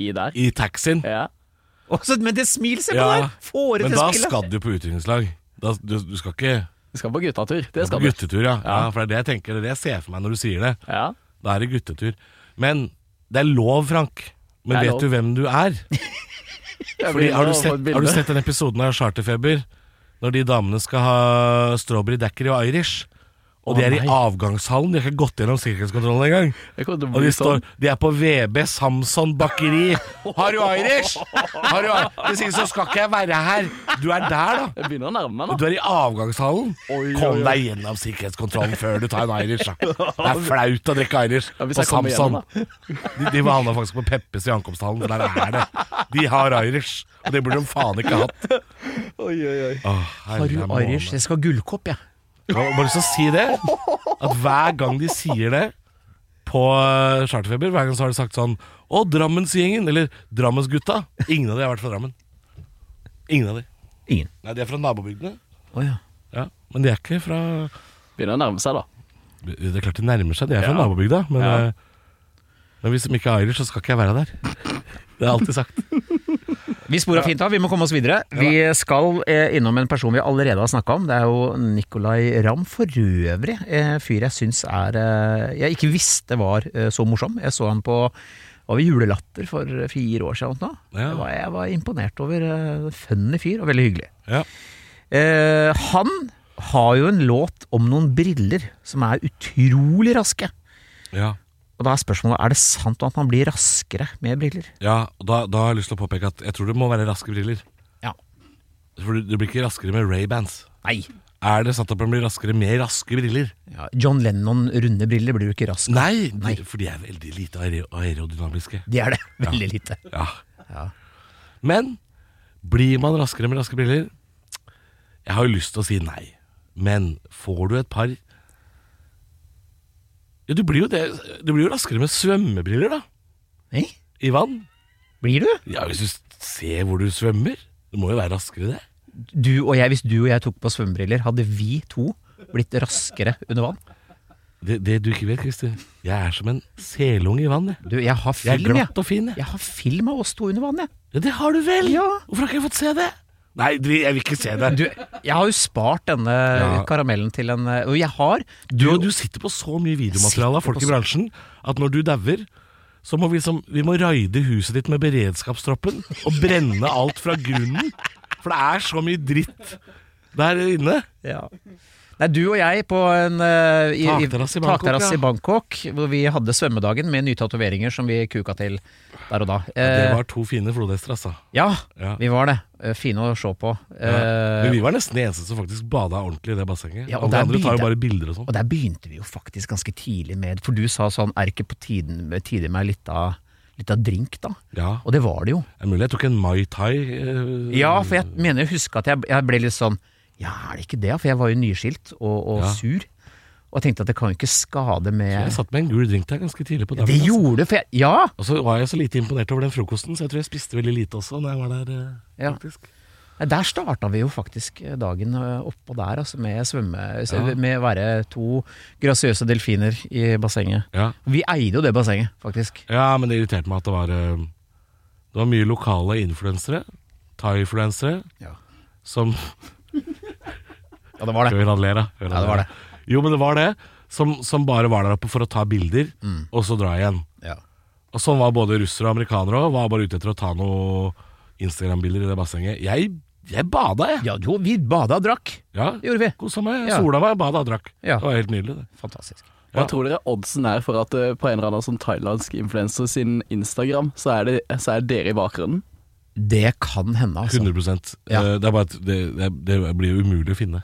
Speaker 1: i der.
Speaker 2: I taxien?
Speaker 1: Ja.
Speaker 3: Også, men det smil, se på
Speaker 2: Ja,
Speaker 3: der! Får det
Speaker 2: Men
Speaker 3: til
Speaker 2: da
Speaker 3: smilet.
Speaker 2: skal du på utdrikningslag. Da- Du, du skal ikke
Speaker 1: Du skal på guttatur. Det
Speaker 2: på
Speaker 1: skal du.
Speaker 2: guttetur, ja. ja. For det er det jeg tenker, det er det jeg ser for meg når du sier det.
Speaker 1: Ja.
Speaker 2: Da er det guttetur. Men det er lov, Frank. Men
Speaker 1: Det er
Speaker 2: vet
Speaker 1: lov.
Speaker 2: du hvem du er? Fordi, har, du
Speaker 1: Jeg
Speaker 2: sett,
Speaker 1: begynner å få et
Speaker 2: har du
Speaker 1: bilde.
Speaker 2: sett den episoden av Charterfeber? Når de damene skal ha strawberry daiquiri og Irish. Og
Speaker 3: Å,
Speaker 2: de er i
Speaker 3: nei.
Speaker 2: avgangshallen, de har ikke gått gjennom sikkerhetskontrollen engang.
Speaker 1: Jeg kommer til å
Speaker 2: Og de,
Speaker 1: bli
Speaker 2: står,
Speaker 1: sånn.
Speaker 2: de er på VB Samson bakeri. Har du Irish? Har du, de sier så skal ikke jeg være her. Du er der, da.
Speaker 1: Jeg begynner å nærme meg nå.
Speaker 2: Du er i avgangshallen.
Speaker 1: Oi,
Speaker 2: Kom
Speaker 1: oi, oi.
Speaker 2: deg gjennom sikkerhetskontrollen før du tar en Irish. Da. Det er flaut å drikke Irish
Speaker 1: Ja, hvis
Speaker 2: på
Speaker 1: jeg kommer
Speaker 2: Samson.
Speaker 1: gjennom,
Speaker 2: De, de havna faktisk på Peppes i ankomsthallen, for der er det. De har Irish, og det burde de faen ikke hatt.
Speaker 1: Oi, oi, oi.
Speaker 2: Åh,
Speaker 3: Har du
Speaker 2: herre måne.
Speaker 3: Irish? Jeg skal ha gullkopp, jeg.
Speaker 2: Jeg har Bare lyst til å si det. At hver gang de sier det på eh, Charterfeber, hver gang så har de sagt sånn Å, Drammensgjengen, eller Drammensgutta. Ingen av de har vært fra Drammen. Ingen av de.
Speaker 3: Ingen.
Speaker 2: Nei, de er fra nabobygdene.
Speaker 3: Å ja.
Speaker 2: Ja, men de er ikke fra
Speaker 1: Begynner å nærme seg, da.
Speaker 2: Det er klart de nærmer seg, de er fra
Speaker 1: Ja.
Speaker 2: nabobygda. Men,
Speaker 1: Ja.
Speaker 2: eh, men hvis de ikke er irish, så skal ikke jeg være der. Det er alltid sagt.
Speaker 3: Vi sporer fint av, vi må komme oss videre. Vi skal eh, innom en person vi allerede har snakka om. Det er jo Nicolay Ramm. For øvrig eh, fyr jeg syns er eh, Jeg ikke visste var eh, så morsom. Jeg så han på var vi julelatter for eh, fire år siden. nå.
Speaker 2: Ja.
Speaker 3: Jeg, var, jeg var imponert over eh, funny fyr, og veldig hyggelig.
Speaker 2: Ja.
Speaker 3: Eh, han har jo en låt om noen briller som er utrolig raske.
Speaker 2: Ja.
Speaker 3: Og da er spørsmålet er det sant at man blir raskere med briller.
Speaker 2: ja og da, da har jeg lyst til å påpeke at jeg tror det må være raske briller.
Speaker 3: Ja.
Speaker 2: For du, du blir ikke raskere med Ray-bands.
Speaker 3: Nei.
Speaker 2: Er det sant at man blir raskere med raske briller?
Speaker 3: Ja, John Lennon runde briller blir du ikke rask av.
Speaker 2: Nei, de- for de er veldig lite aer- aerodynamiske.
Speaker 3: Det er det. Veldig lite.
Speaker 2: Ja.
Speaker 3: Ja.
Speaker 2: Men blir man raskere med raske briller? Jeg har jo lyst til å si nei, men får du et par Ja, du blir jo det Du blir jo raskere med svømmebriller, da.
Speaker 3: Nei?
Speaker 2: I vann.
Speaker 3: Blir du?
Speaker 2: Ja, Hvis du s- ser hvor du svømmer. Du må jo være raskere, det.
Speaker 3: du og jeg, Hvis du og jeg tok på svømmebriller, hadde vi to blitt raskere under vann?
Speaker 2: Det, det du ikke vet, Christer, jeg er som en selunge i vann. Jeg.
Speaker 3: Du, jeg har
Speaker 2: jeg er
Speaker 3: film,
Speaker 2: glatt
Speaker 3: jeg.
Speaker 2: og fin. Jeg.
Speaker 3: Jeg har film av oss to under vann, jeg.
Speaker 2: Ja, det har du vel!
Speaker 3: Ja.
Speaker 2: Hvorfor har ikke jeg fått se det? Nei, du, jeg vil ikke se det.
Speaker 3: Du, jeg har jo spart denne
Speaker 2: Ja.
Speaker 3: karamellen til en eh, Og jeg har
Speaker 2: Du, og du sitter på så mye videomateriale av folk i bransjen at når du dauer, så må vi, liksom, vi må raide huset ditt med beredskapstroppen og brenne alt fra grunnen. For det er så mye dritt der inne.
Speaker 3: ja. Nei, du og jeg på en eh, i, i,
Speaker 2: Takterrasse i Bangkok,
Speaker 3: takterrasse
Speaker 2: ja.
Speaker 3: i Bangkok, hvor vi hadde svømmedagen med nye tatoveringer som vi kuka til der og da.
Speaker 2: Det
Speaker 3: Eh,
Speaker 2: var to fine flodhester, altså.
Speaker 3: ja,
Speaker 2: Ja.
Speaker 3: vi var det. Eh, Fine å se på. Eh,
Speaker 2: Men vi var nesten de eneste som faktisk bada ordentlig i det bassenget.
Speaker 3: Ja, og
Speaker 2: og de
Speaker 3: det er
Speaker 2: andre tar jo
Speaker 3: bilder.
Speaker 2: bare bilder og sånn.
Speaker 3: Og der begynte vi jo faktisk ganske tidlig med For du sa sånn, er ikke på tiden, tide med litt av, litt av drink, da?
Speaker 2: Ja,
Speaker 3: Og det var det jo.
Speaker 2: det er mulig jeg tok en Mai Tai. eh,
Speaker 3: Ja, for jeg mener jeg husker at jeg, jeg ble litt sånn Ja, er det ikke det? For jeg var jo nyskilt og, og
Speaker 2: Ja.
Speaker 3: sur. Og jeg tenkte at det kan jo ikke skade
Speaker 2: Jeg
Speaker 3: med
Speaker 2: satt med en gul drink der ganske tidlig på dagen.
Speaker 3: Det
Speaker 2: altså.
Speaker 3: gjorde det, for jeg Ja!
Speaker 2: Og så var jeg så lite imponert over den frokosten, så jeg tror jeg spiste veldig lite også når jeg var der. eh,
Speaker 3: Ja.
Speaker 2: faktisk.
Speaker 3: Nei, Der starta vi jo faktisk dagen eh, oppå der, altså, med svømme...
Speaker 2: Ja.
Speaker 3: Med å være to grasiøse delfiner i bassenget.
Speaker 2: Ja.
Speaker 3: Vi eide jo det bassenget, faktisk.
Speaker 2: ja, men det irriterte meg at det var eh, Det var mye lokale influensere, thai-influensere,
Speaker 3: Ja.
Speaker 2: som
Speaker 3: Ja, det var det.
Speaker 2: Hør han ler, da. Hør han
Speaker 3: Ja, det var
Speaker 2: ler, da. Jo, men det var det. Som, som bare var der oppe for å ta bilder,
Speaker 3: Mm.
Speaker 2: og så dra igjen.
Speaker 3: Ja.
Speaker 2: Og sånn var både russere og amerikanere òg. Var bare ute etter å ta noen Instagram-bilder i det bassenget. Jeg, jeg bada, jeg.
Speaker 3: ja, jo, vi bada og drakk.
Speaker 2: Ja,
Speaker 3: Det gjorde vi.
Speaker 2: Kosa meg.
Speaker 3: Ja.
Speaker 2: Sola meg, bada og drakk.
Speaker 3: Ja.
Speaker 2: Det var helt nydelig, det.
Speaker 3: Fantastisk.
Speaker 1: Hva tror dere oddsen er for at eh, på en eller annen sånn thailandsk influenser sin Instagram, så er, det, så er dere i bakgrunnen?
Speaker 3: Det kan hende, altså.
Speaker 2: 100
Speaker 3: Ja.
Speaker 2: Eh, Det er bare at det, det, det blir jo umulig å finne.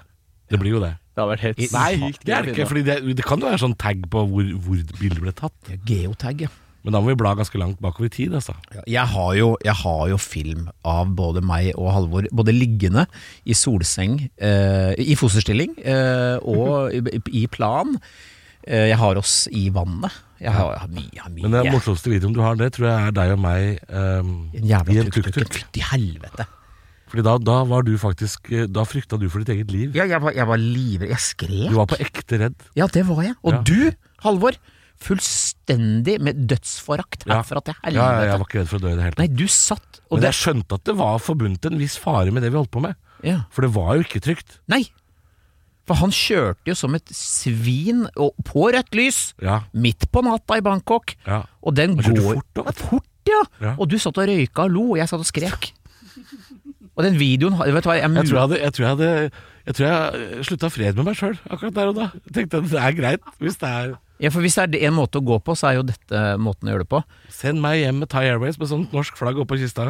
Speaker 2: Det blir jo det.
Speaker 1: Det har vært helt sykt
Speaker 2: Nei,
Speaker 1: gøy
Speaker 2: det er det
Speaker 1: å
Speaker 2: ikke.
Speaker 1: finne.
Speaker 2: Fordi det, det kan jo være sånn tag på hvor, hvor bildet ble tatt.
Speaker 3: Det er Geotag, ja.
Speaker 2: Men da må vi bla ganske langt bakover i tid, altså.
Speaker 3: Ja, Jeg har, jo, jeg har jo film av både meg og Halvor, både liggende i solseng, eh, i fosterstilling eh, og i, i plan. Eh, jeg har oss i vannet. Jeg har, jeg har mye. Jeg har mye.
Speaker 2: Men den morsomste videoen du har, det tror jeg er deg og meg ehm,
Speaker 3: en jævla
Speaker 2: i en
Speaker 3: tuk-tuk.
Speaker 2: tuk-tuk.
Speaker 3: Fytti helvete.
Speaker 2: Fordi da, da var du faktisk eh, Da frykta du for ditt eget liv.
Speaker 3: Ja, jeg, var, jeg var livredd. Jeg
Speaker 2: Du
Speaker 3: skrek.
Speaker 2: var på ekte redd.
Speaker 3: Ja, det var jeg. Og
Speaker 2: Ja.
Speaker 3: du, Halvor, fullstendig med dødsforakt
Speaker 2: Ja.
Speaker 3: herfra til
Speaker 2: Ja, ja, jeg
Speaker 3: helvete.
Speaker 2: var ikke redd for å dø i det hele tatt.
Speaker 3: Nei, du satt og
Speaker 2: Men
Speaker 3: det,
Speaker 2: jeg skjønte at det var forbundet en viss fare med det vi holdt på med.
Speaker 3: ja.
Speaker 2: For det var jo ikke trygt.
Speaker 3: Nei! For han kjørte jo som et svin og på rødt lys,
Speaker 2: Ja.
Speaker 3: midt på natta i Bangkok.
Speaker 2: Ja.
Speaker 3: Og den
Speaker 2: Han kjørte
Speaker 3: går
Speaker 2: fort da, vet du.
Speaker 3: Fort, ja.
Speaker 2: Ja.
Speaker 3: Og du satt og røyka og lo, og jeg satt og skrek. Og den videoen har- Vet du hva, jeg,
Speaker 2: Jeg tror jeg hadde, jeg tror jeg hadde jeg tror jeg slutta fred med meg sjøl akkurat der og da. Jeg tenkte at det er greit hvis det er
Speaker 3: ja, For hvis det er en måte å gå på, så er jo dette måten å gjøre det på.
Speaker 2: Send meg hjem med Thai Airways med sånt norsk flagg oppå kista.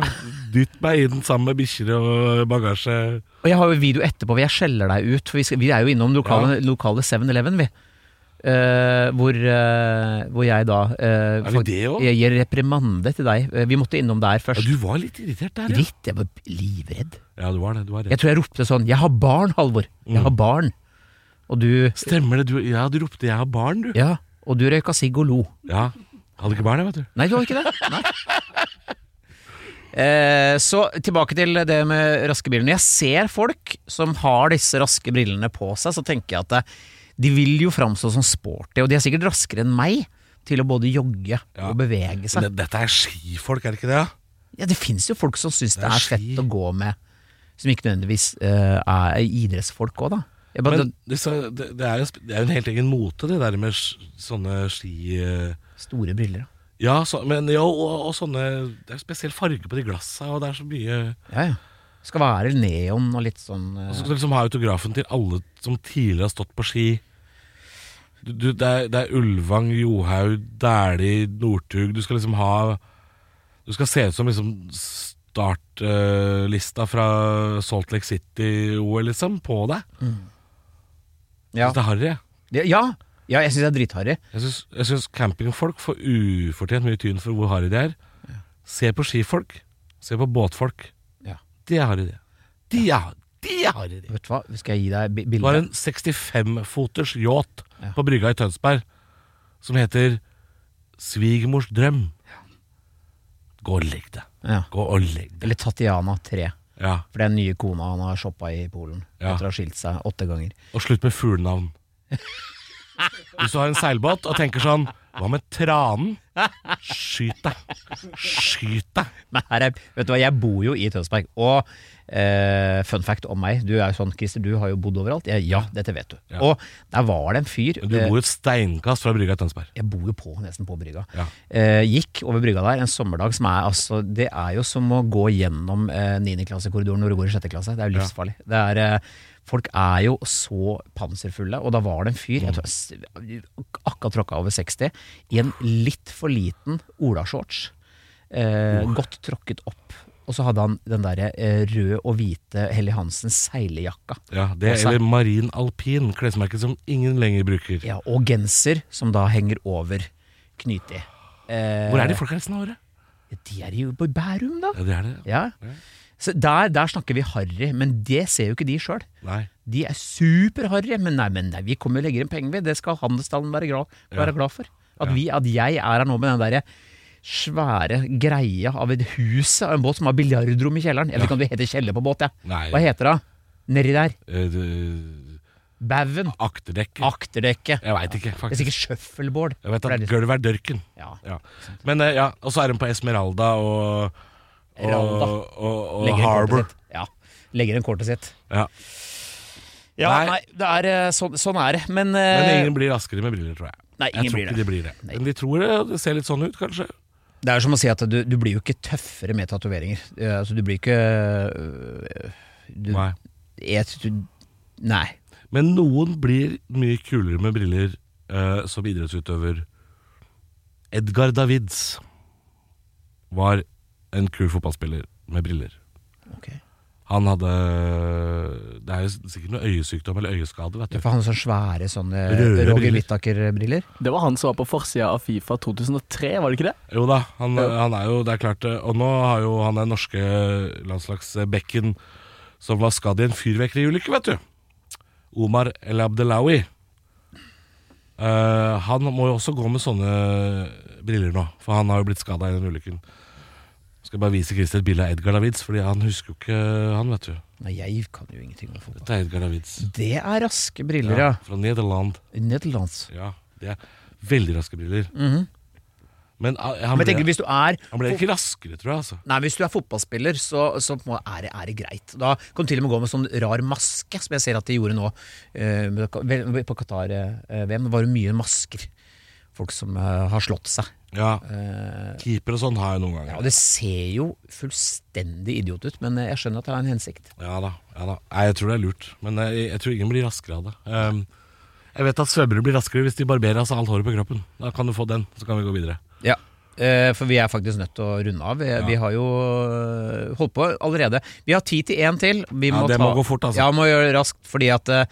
Speaker 2: Dytt meg inn sammen med bikkjer og bagasje.
Speaker 3: Og jeg har jo video etterpå hvor jeg skjeller deg ut, for vi, skal, vi er jo innom lokale, lokale 7-Eleven, vi. Eh, hvor, eh, hvor jeg da
Speaker 2: Er
Speaker 3: eh,
Speaker 2: vi
Speaker 3: fakt-
Speaker 2: det også?
Speaker 3: Jeg gir reprimande til deg. Eh, Vi måtte innom der
Speaker 2: Ja,
Speaker 3: først.
Speaker 2: du var litt irritert der, ja.
Speaker 3: Litt, jeg var livredd.
Speaker 2: Ja, du var det. Du var det.
Speaker 3: Jeg tror jeg ropte sånn Jeg har barn, Halvor! Jeg
Speaker 2: Mm.
Speaker 3: har barn! Og du
Speaker 2: Stemmer det. Du, ja, du ropte 'jeg har barn', du.
Speaker 3: Ja, og du røyka sigg og lo.
Speaker 2: Ja. Hadde ikke barn, jeg, vet du.
Speaker 3: Nei, du har ikke det? Nei. Eh, så tilbake til det med raske briller. Når jeg ser folk som har disse raske brillene på seg, så tenker jeg at eh, de vil jo framstå som sporty, og de er sikkert raskere enn meg til å både jogge
Speaker 2: Ja.
Speaker 3: og bevege
Speaker 2: Men
Speaker 3: seg.
Speaker 2: det- Dette er skifolk, er det ikke det? ja?
Speaker 3: Ja, det fins jo folk som syns det,
Speaker 2: Det er
Speaker 3: er
Speaker 2: ski.
Speaker 3: fett å gå med, som ikke nødvendigvis eh, er idrettsfolk òg, da. Jeg bare,
Speaker 2: Men disse, det, det, er jo, en sp- det er jo en helt egen mote, det der med s- sånne ski... eh,
Speaker 3: Store briller, da.
Speaker 2: Ja, så, men, ja og, og sånne Det er spesiell farge på de glassa, og det er så mye
Speaker 3: Ja, ja. Skal være neon og litt sånn eh,
Speaker 2: Og så skal du liksom ha autografen til alle som tidligere har stått på ski. Du, du, det, er, det er Ulvang, Johaug, Dæhlie, Northug Du skal liksom ha Du skal se ut som liksom startlista fra Salt Lake City-OL, liksom, på deg.
Speaker 3: ja.
Speaker 2: Så Det er harry.
Speaker 3: Ja, ja. ja, jeg syns det er dritharry.
Speaker 2: Jeg syns- Jeg syns campingfolk får ufortjent mye tyn for hvor harry de er. Se på skifolk. Se på båtfolk.
Speaker 3: Ja.
Speaker 2: De er harry, de. De er, de er harry, de.
Speaker 3: Vet du hva, skal jeg gi deg bi-
Speaker 2: Det var
Speaker 3: bilde?
Speaker 2: en 65-foters yacht
Speaker 3: Ja.
Speaker 2: på brygga i Tønsberg som heter Svigermors drøm. Gå og legg deg.
Speaker 3: Ja.
Speaker 2: Gå og legg deg.
Speaker 3: Eller Tatiana 3.
Speaker 2: Ja.
Speaker 3: For det er den nye kona han har shoppa i Polen
Speaker 2: Ja.
Speaker 3: etter å ha skilt seg åtte ganger.
Speaker 2: Og slutt med fuglenavn. Hvis du har en seilbåt og tenker sånn Hva med tranen? Skyt deg. Skyt deg.
Speaker 3: Men her er, vet du hva, jeg bor jo i Tønsberg, og eh, fun fact om meg Du er jo sånn, Christer, du har jo bodd overalt. Jeg, ja, dette vet du.
Speaker 2: Ja.
Speaker 3: Og der var det en fyr
Speaker 2: Du
Speaker 3: eh,
Speaker 2: bor et steinkast fra brygga i Tønsberg.
Speaker 3: jeg bor jo på, nesten på brygga.
Speaker 2: Ja.
Speaker 3: Eh, gikk over brygga der en sommerdag som er altså Det er jo som å gå gjennom eh, 9. klassekorridoren når du går i 6. klasse. Det er jo livsfarlig. Det er, eh, folk er jo så panserfulle, og da var det en fyr jeg tror, s- akkurat tråkka over 60, i en litt for liten olashorts. Eh, Godt tråkket opp. Og så hadde han den derre eh, rød og hvite Helly Hansen seilejakka.
Speaker 2: Ja, det
Speaker 3: Og så-
Speaker 2: Eller marin alpin, klesmerket som ingen lenger bruker.
Speaker 3: Ja, og genser som da henger over knytig. Eh,
Speaker 2: Hvor er de folka resten av året?
Speaker 3: De er jo på Bærum, da.
Speaker 2: Ja, det er det.
Speaker 3: Ja. Så der, der snakker vi harry, men det ser jo ikke de sjøl.
Speaker 2: Nei.
Speaker 3: De er superharry, men nei, men nei, vi kommer og legger inn penger, vi. Det skal handelsstanden være glad, være glad for. At, vi, at jeg er her nå med den derre svære greia av et hus av en båt som har biljardrom i kjelleren. Jeg vet ikke om det heter kjeller på båt, jeg.
Speaker 2: Nei.
Speaker 3: Hva heter det? Nedi der.
Speaker 2: Eh, det-
Speaker 3: Baugen.
Speaker 2: Akterdekket.
Speaker 3: Akterdekket.
Speaker 2: jeg veit ikke,
Speaker 3: Det er
Speaker 2: faktisk.
Speaker 3: sikkert shuffleboard.
Speaker 2: Jeg vet at
Speaker 3: For det er litt-
Speaker 2: gulvet er dørken.
Speaker 3: Ja.
Speaker 2: Ja. Men eh, ja, og så er hun på Esmeralda og og,
Speaker 3: Ralda.
Speaker 2: og, og
Speaker 3: Legger inn kortet
Speaker 2: Harbour.
Speaker 3: sitt. Ja. Legger inn kortet sitt.
Speaker 2: Ja.
Speaker 3: Ja,
Speaker 2: Nei.
Speaker 3: nei, det er, eh, sånn, sånn er det. Men, eh,
Speaker 2: Men ingen blir raskere med briller, tror jeg.
Speaker 3: Nei, ingen
Speaker 2: jeg tror
Speaker 3: blir
Speaker 2: ikke
Speaker 3: det.
Speaker 2: de blir det.
Speaker 3: Nei.
Speaker 2: Men de tror det, og det ser litt sånn ut, kanskje.
Speaker 3: det er som å si at du, du blir jo ikke tøffere med tatoveringer. Eh, Altså, du blir ikke øh, du,
Speaker 2: Nei.
Speaker 3: Jeg, tror du, nei.
Speaker 2: Men noen blir mye kulere med briller eh, som idrettsutøver. Edgar Davids var en kul fotballspiller med briller.
Speaker 3: Ok.
Speaker 2: Han hadde Det er jo sikkert noe øyesykdom eller øyeskade, vet
Speaker 3: Du
Speaker 2: du.
Speaker 3: får ha noen sånne svære sånne
Speaker 2: Røde
Speaker 3: Roger
Speaker 2: briller.
Speaker 3: Whittaker-briller.
Speaker 1: Det var han som var på forsida av Fifa 2003, var det ikke det?
Speaker 2: Jo da, han, han er jo Det er klart. eh, Og nå har jo han den norske landslagsbekken som var skadd i en fyrverkeriulykke, vet du. Omar El Abdelawi. Eh, han må jo også gå med sånne briller nå, for han har jo blitt skada i den ulykken. Skal bare vise Christer et bilde av Edgar Davids, Fordi han husker jo ikke han, vet du.
Speaker 3: Nei, jeg kan jo ingenting om fotball.
Speaker 2: Dette er Edgar Davids.
Speaker 3: Det er raske briller, ja.
Speaker 2: Fra Nederland.
Speaker 3: Nederlands.
Speaker 2: Ja, det er veldig raske briller. Men ah, han
Speaker 3: Mhm. Men jeg
Speaker 2: ble,
Speaker 3: tenker, hvis du er
Speaker 2: han ble ikke raskere, tror jeg. Altså.
Speaker 3: Nei, Hvis du er fotballspiller, så, så på en måte er, det, er det greit. Da kan du til og med gå med sånn rar maske, som jeg ser at de gjorde nå eh, med- på eh, Qatar-VM. Det var jo mye masker. Folk som eh, har slått seg.
Speaker 2: Ja,
Speaker 3: Eh,
Speaker 2: Keeper og sånn har jeg noen ganger.
Speaker 3: ja, og det ser jo fullstendig idiot ut, men jeg skjønner at det har en hensikt.
Speaker 2: Ja da. ja da Nei, Jeg tror det er lurt, men jeg, jeg tror ingen blir raskere av det. Ehm, jeg vet at svømmere blir raskere hvis de barberer av seg alt håret på kroppen. Da kan du få den, så kan vi gå videre.
Speaker 3: Ja, eh, for vi er faktisk nødt til å runde av. Vi, vi har jo eh, holdt på allerede. Vi har tid til én til. Vi
Speaker 2: Ja,
Speaker 3: må
Speaker 2: det
Speaker 3: ta,
Speaker 2: må gå fort, altså.
Speaker 3: Ja, må gjøre det raskt, fordi at eh,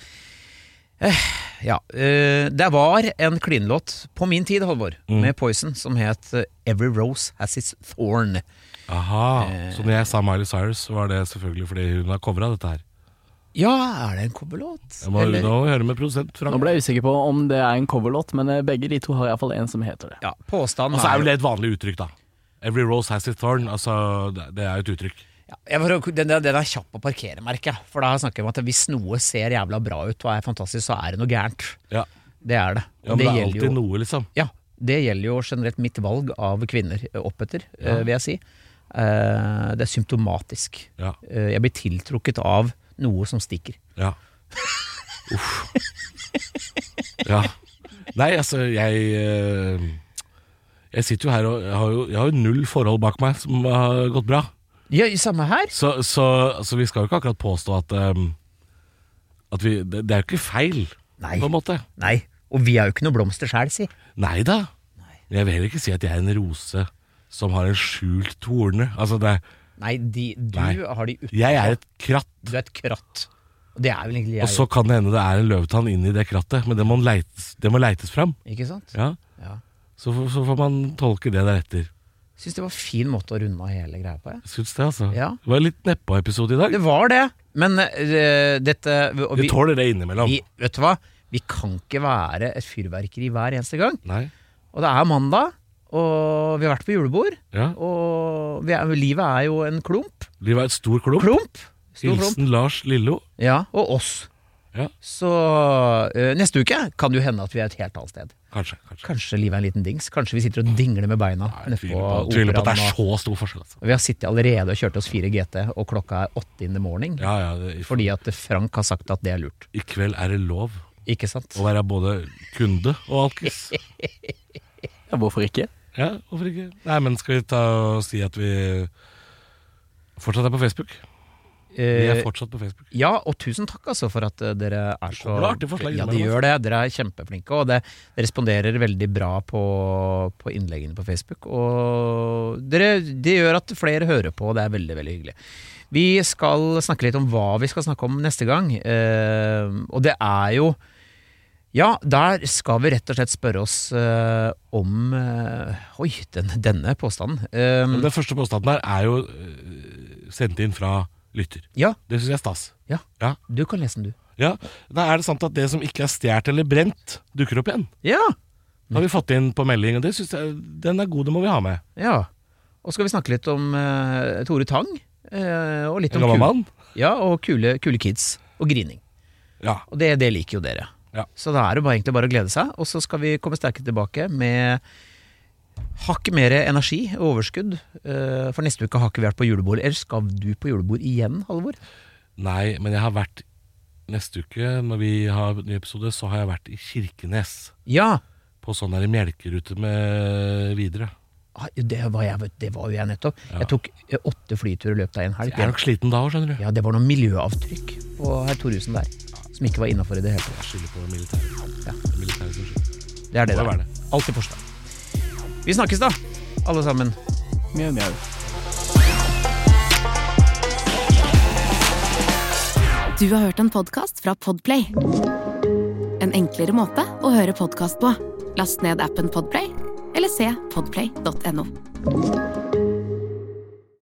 Speaker 3: eh, Ja. eh, det var en klinlåt på min tid, Halvor, med Poison, som het eh, Every Rose Has Its Thorn.
Speaker 2: Aha, Eh. Så når jeg sa Miley Cyrus, var det selvfølgelig fordi hun har covra dette her.
Speaker 3: Ja, er det en kobberlåt?
Speaker 2: Jeg må
Speaker 3: Eller-
Speaker 2: nå høre med produsent Frank.
Speaker 1: Nå ble jeg usikker på om det er en coverlåt, men eh, begge de to har iallfall en som heter det.
Speaker 3: Ja, påstanden
Speaker 2: Og så er
Speaker 3: jo-
Speaker 2: vel det et vanlig uttrykk, da. Every rose has its thorn. Altså, det det er jo et uttrykk.
Speaker 3: Ja, jeg var, den, den den er kjapp å parkere, merker jeg. For da snakker jeg om at hvis noe ser jævla bra ut og er fantastisk, så er det noe gærent.
Speaker 2: Ja,
Speaker 3: Det er det. Og
Speaker 2: ja Men det, er
Speaker 3: gjelder
Speaker 2: alltid
Speaker 3: jo,
Speaker 2: noe, liksom.
Speaker 3: Ja, det gjelder jo generelt mitt valg av kvinner eh, oppetter, eh, vil jeg si. Eh, det er symptomatisk.
Speaker 2: Ja,
Speaker 3: Eh, jeg blir tiltrukket av noe som stikker.
Speaker 2: ja. Uff. Ja. Nei, altså, jeg eh, Jeg sitter jo her og jeg har jo, jeg har jo null forhold bak meg som har gått bra.
Speaker 3: Ja, samme her.
Speaker 2: Så, så, så vi skal jo ikke akkurat påstå at eh, At vi Det, det er jo ikke feil,
Speaker 3: Nei.
Speaker 2: på en måte.
Speaker 3: Nei. Og vi er jo ikke noe blomster sjæl, si.
Speaker 2: Nei da. Jeg vil heller ikke si at jeg er en rose som har en skjult torne. Altså, det er
Speaker 3: Nei, de, du
Speaker 2: Nei.
Speaker 3: har de ut...
Speaker 2: Jeg er et kratt.
Speaker 3: Du er et kratt. Og det er vel egentlig jeg.
Speaker 2: Og så kan det hende det er en løvetann inni det krattet, men det må leites, det må leites fram.
Speaker 3: Ikke sant?
Speaker 2: Ja.
Speaker 3: Ja.
Speaker 2: Så, får- så får man tolke det deretter.
Speaker 3: Syns det var en fin måte å runde av hele greia på. Jeg.
Speaker 2: Jeg syns det, altså.
Speaker 3: Ja.
Speaker 2: Det var en litt nedpå-episode i dag.
Speaker 3: Det var det, men eh, dette og
Speaker 2: Vi
Speaker 3: vi,
Speaker 2: tåler det innimellom.
Speaker 3: vi, Vet du hva? Vi kan ikke være et fyrverkeri hver eneste gang.
Speaker 2: Nei.
Speaker 3: Og det er mandag, Og vi har vært på julebord,
Speaker 2: Ja.
Speaker 3: og vi er, livet er jo en klump.
Speaker 2: Livet er et stor klump.
Speaker 3: Klump! Stor klump.
Speaker 2: Hilsen Lars Lillo.
Speaker 3: Ja, og oss.
Speaker 2: Ja.
Speaker 3: Så eh, neste uke kan det jo hende at vi er et helt annet sted.
Speaker 2: Kanskje. kanskje.
Speaker 3: Kanskje livet er en liten dings. Kanskje vi sitter og dingler med beina
Speaker 2: Nei, Jeg
Speaker 3: nede på
Speaker 2: tviler på, tviler på at det
Speaker 3: operaen.
Speaker 2: er
Speaker 3: og-
Speaker 2: så stor forskjell. Altså.
Speaker 3: og Vi har sittet allerede og kjørt oss 4 GT, og klokka er åtte in the morning.
Speaker 2: Ja, ja, det, i,
Speaker 3: Fordi at Frank har sagt at det er lurt.
Speaker 2: I kveld er det lov
Speaker 3: Ikke sant?
Speaker 2: å være både kunde og alkis.
Speaker 1: Ja, hvorfor ikke?
Speaker 2: Ja, hvorfor ikke? Nei, men skal vi ta og si at vi fortsatt er på Facebook? Vi
Speaker 3: Eh,
Speaker 2: er fortsatt på Facebook.
Speaker 3: Ja, og tusen takk altså for at eh, dere er så
Speaker 2: kommer artige forslag
Speaker 3: Ja, de
Speaker 2: innimellom,
Speaker 3: gjør det. Dere er kjempeflinke, og det, det responderer veldig bra på, på innleggene på Facebook. Og dere, det gjør at flere hører på, og det er veldig, veldig hyggelig. Vi skal snakke litt om hva vi skal snakke om neste gang, eh, og det er jo ja, der skal vi rett og slett spørre oss eh, om eh, Oi, den, denne påstanden.
Speaker 2: Men
Speaker 3: Eh,
Speaker 2: Den første påstanden her er jo øh, sendt inn fra lytter.
Speaker 3: ja,
Speaker 2: Det syns jeg er stas.
Speaker 3: ja,
Speaker 2: Ja.
Speaker 3: du kan lese den, du.
Speaker 2: ja. Da er det sant at det som ikke er stjålet eller brent, dukker opp igjen.
Speaker 3: Ja!
Speaker 2: Har vi fått inn på melding, og det synes jeg, den er god, det må vi ha med.
Speaker 3: Ja. Og skal vi snakke litt om eh, Tore Tang. eh, og litt
Speaker 2: En
Speaker 3: om
Speaker 2: gammel
Speaker 3: kule,
Speaker 2: mann.
Speaker 3: ja, og kule, kule kids. Og grining.
Speaker 2: Ja.
Speaker 3: Og det, det liker jo dere.
Speaker 2: Ja.
Speaker 3: Så da er det bare, egentlig bare å glede seg. Og så skal vi komme sterke tilbake med hakk mer energi og overskudd. eh, for neste uke har ikke vi vært på julebord. Eller skal du på julebord igjen, Halvor?
Speaker 2: Nei, men jeg har vært Neste uke, når vi har ny episode, så har jeg vært i Kirkenes.
Speaker 3: Ja!
Speaker 2: På sånn der melkerute med videre.
Speaker 3: Ah, Det var, jeg, vet du, det var jo jeg nettopp. Jeg tok eh, åtte flyturer i løpet av en helg.
Speaker 2: Jeg er nok sliten da òg, skjønner du.
Speaker 3: Ja, det var noe miljøavtrykk på herr Thoresen der, som ikke var innafor i det hele tatt.
Speaker 2: Jeg skylder på militæret.
Speaker 3: Ja.
Speaker 2: Det er militæret som skylder.
Speaker 3: Det er det
Speaker 2: Må
Speaker 3: det
Speaker 2: jo
Speaker 3: er.
Speaker 2: være det.
Speaker 3: Alltid forslag. Vi snakkes da, alle sammen.
Speaker 1: Mjau, mjau.
Speaker 4: Du har hørt en podcast fra Podplay En enklere måte å høre podcast på Last ned appen Podplay Eller se podplay.no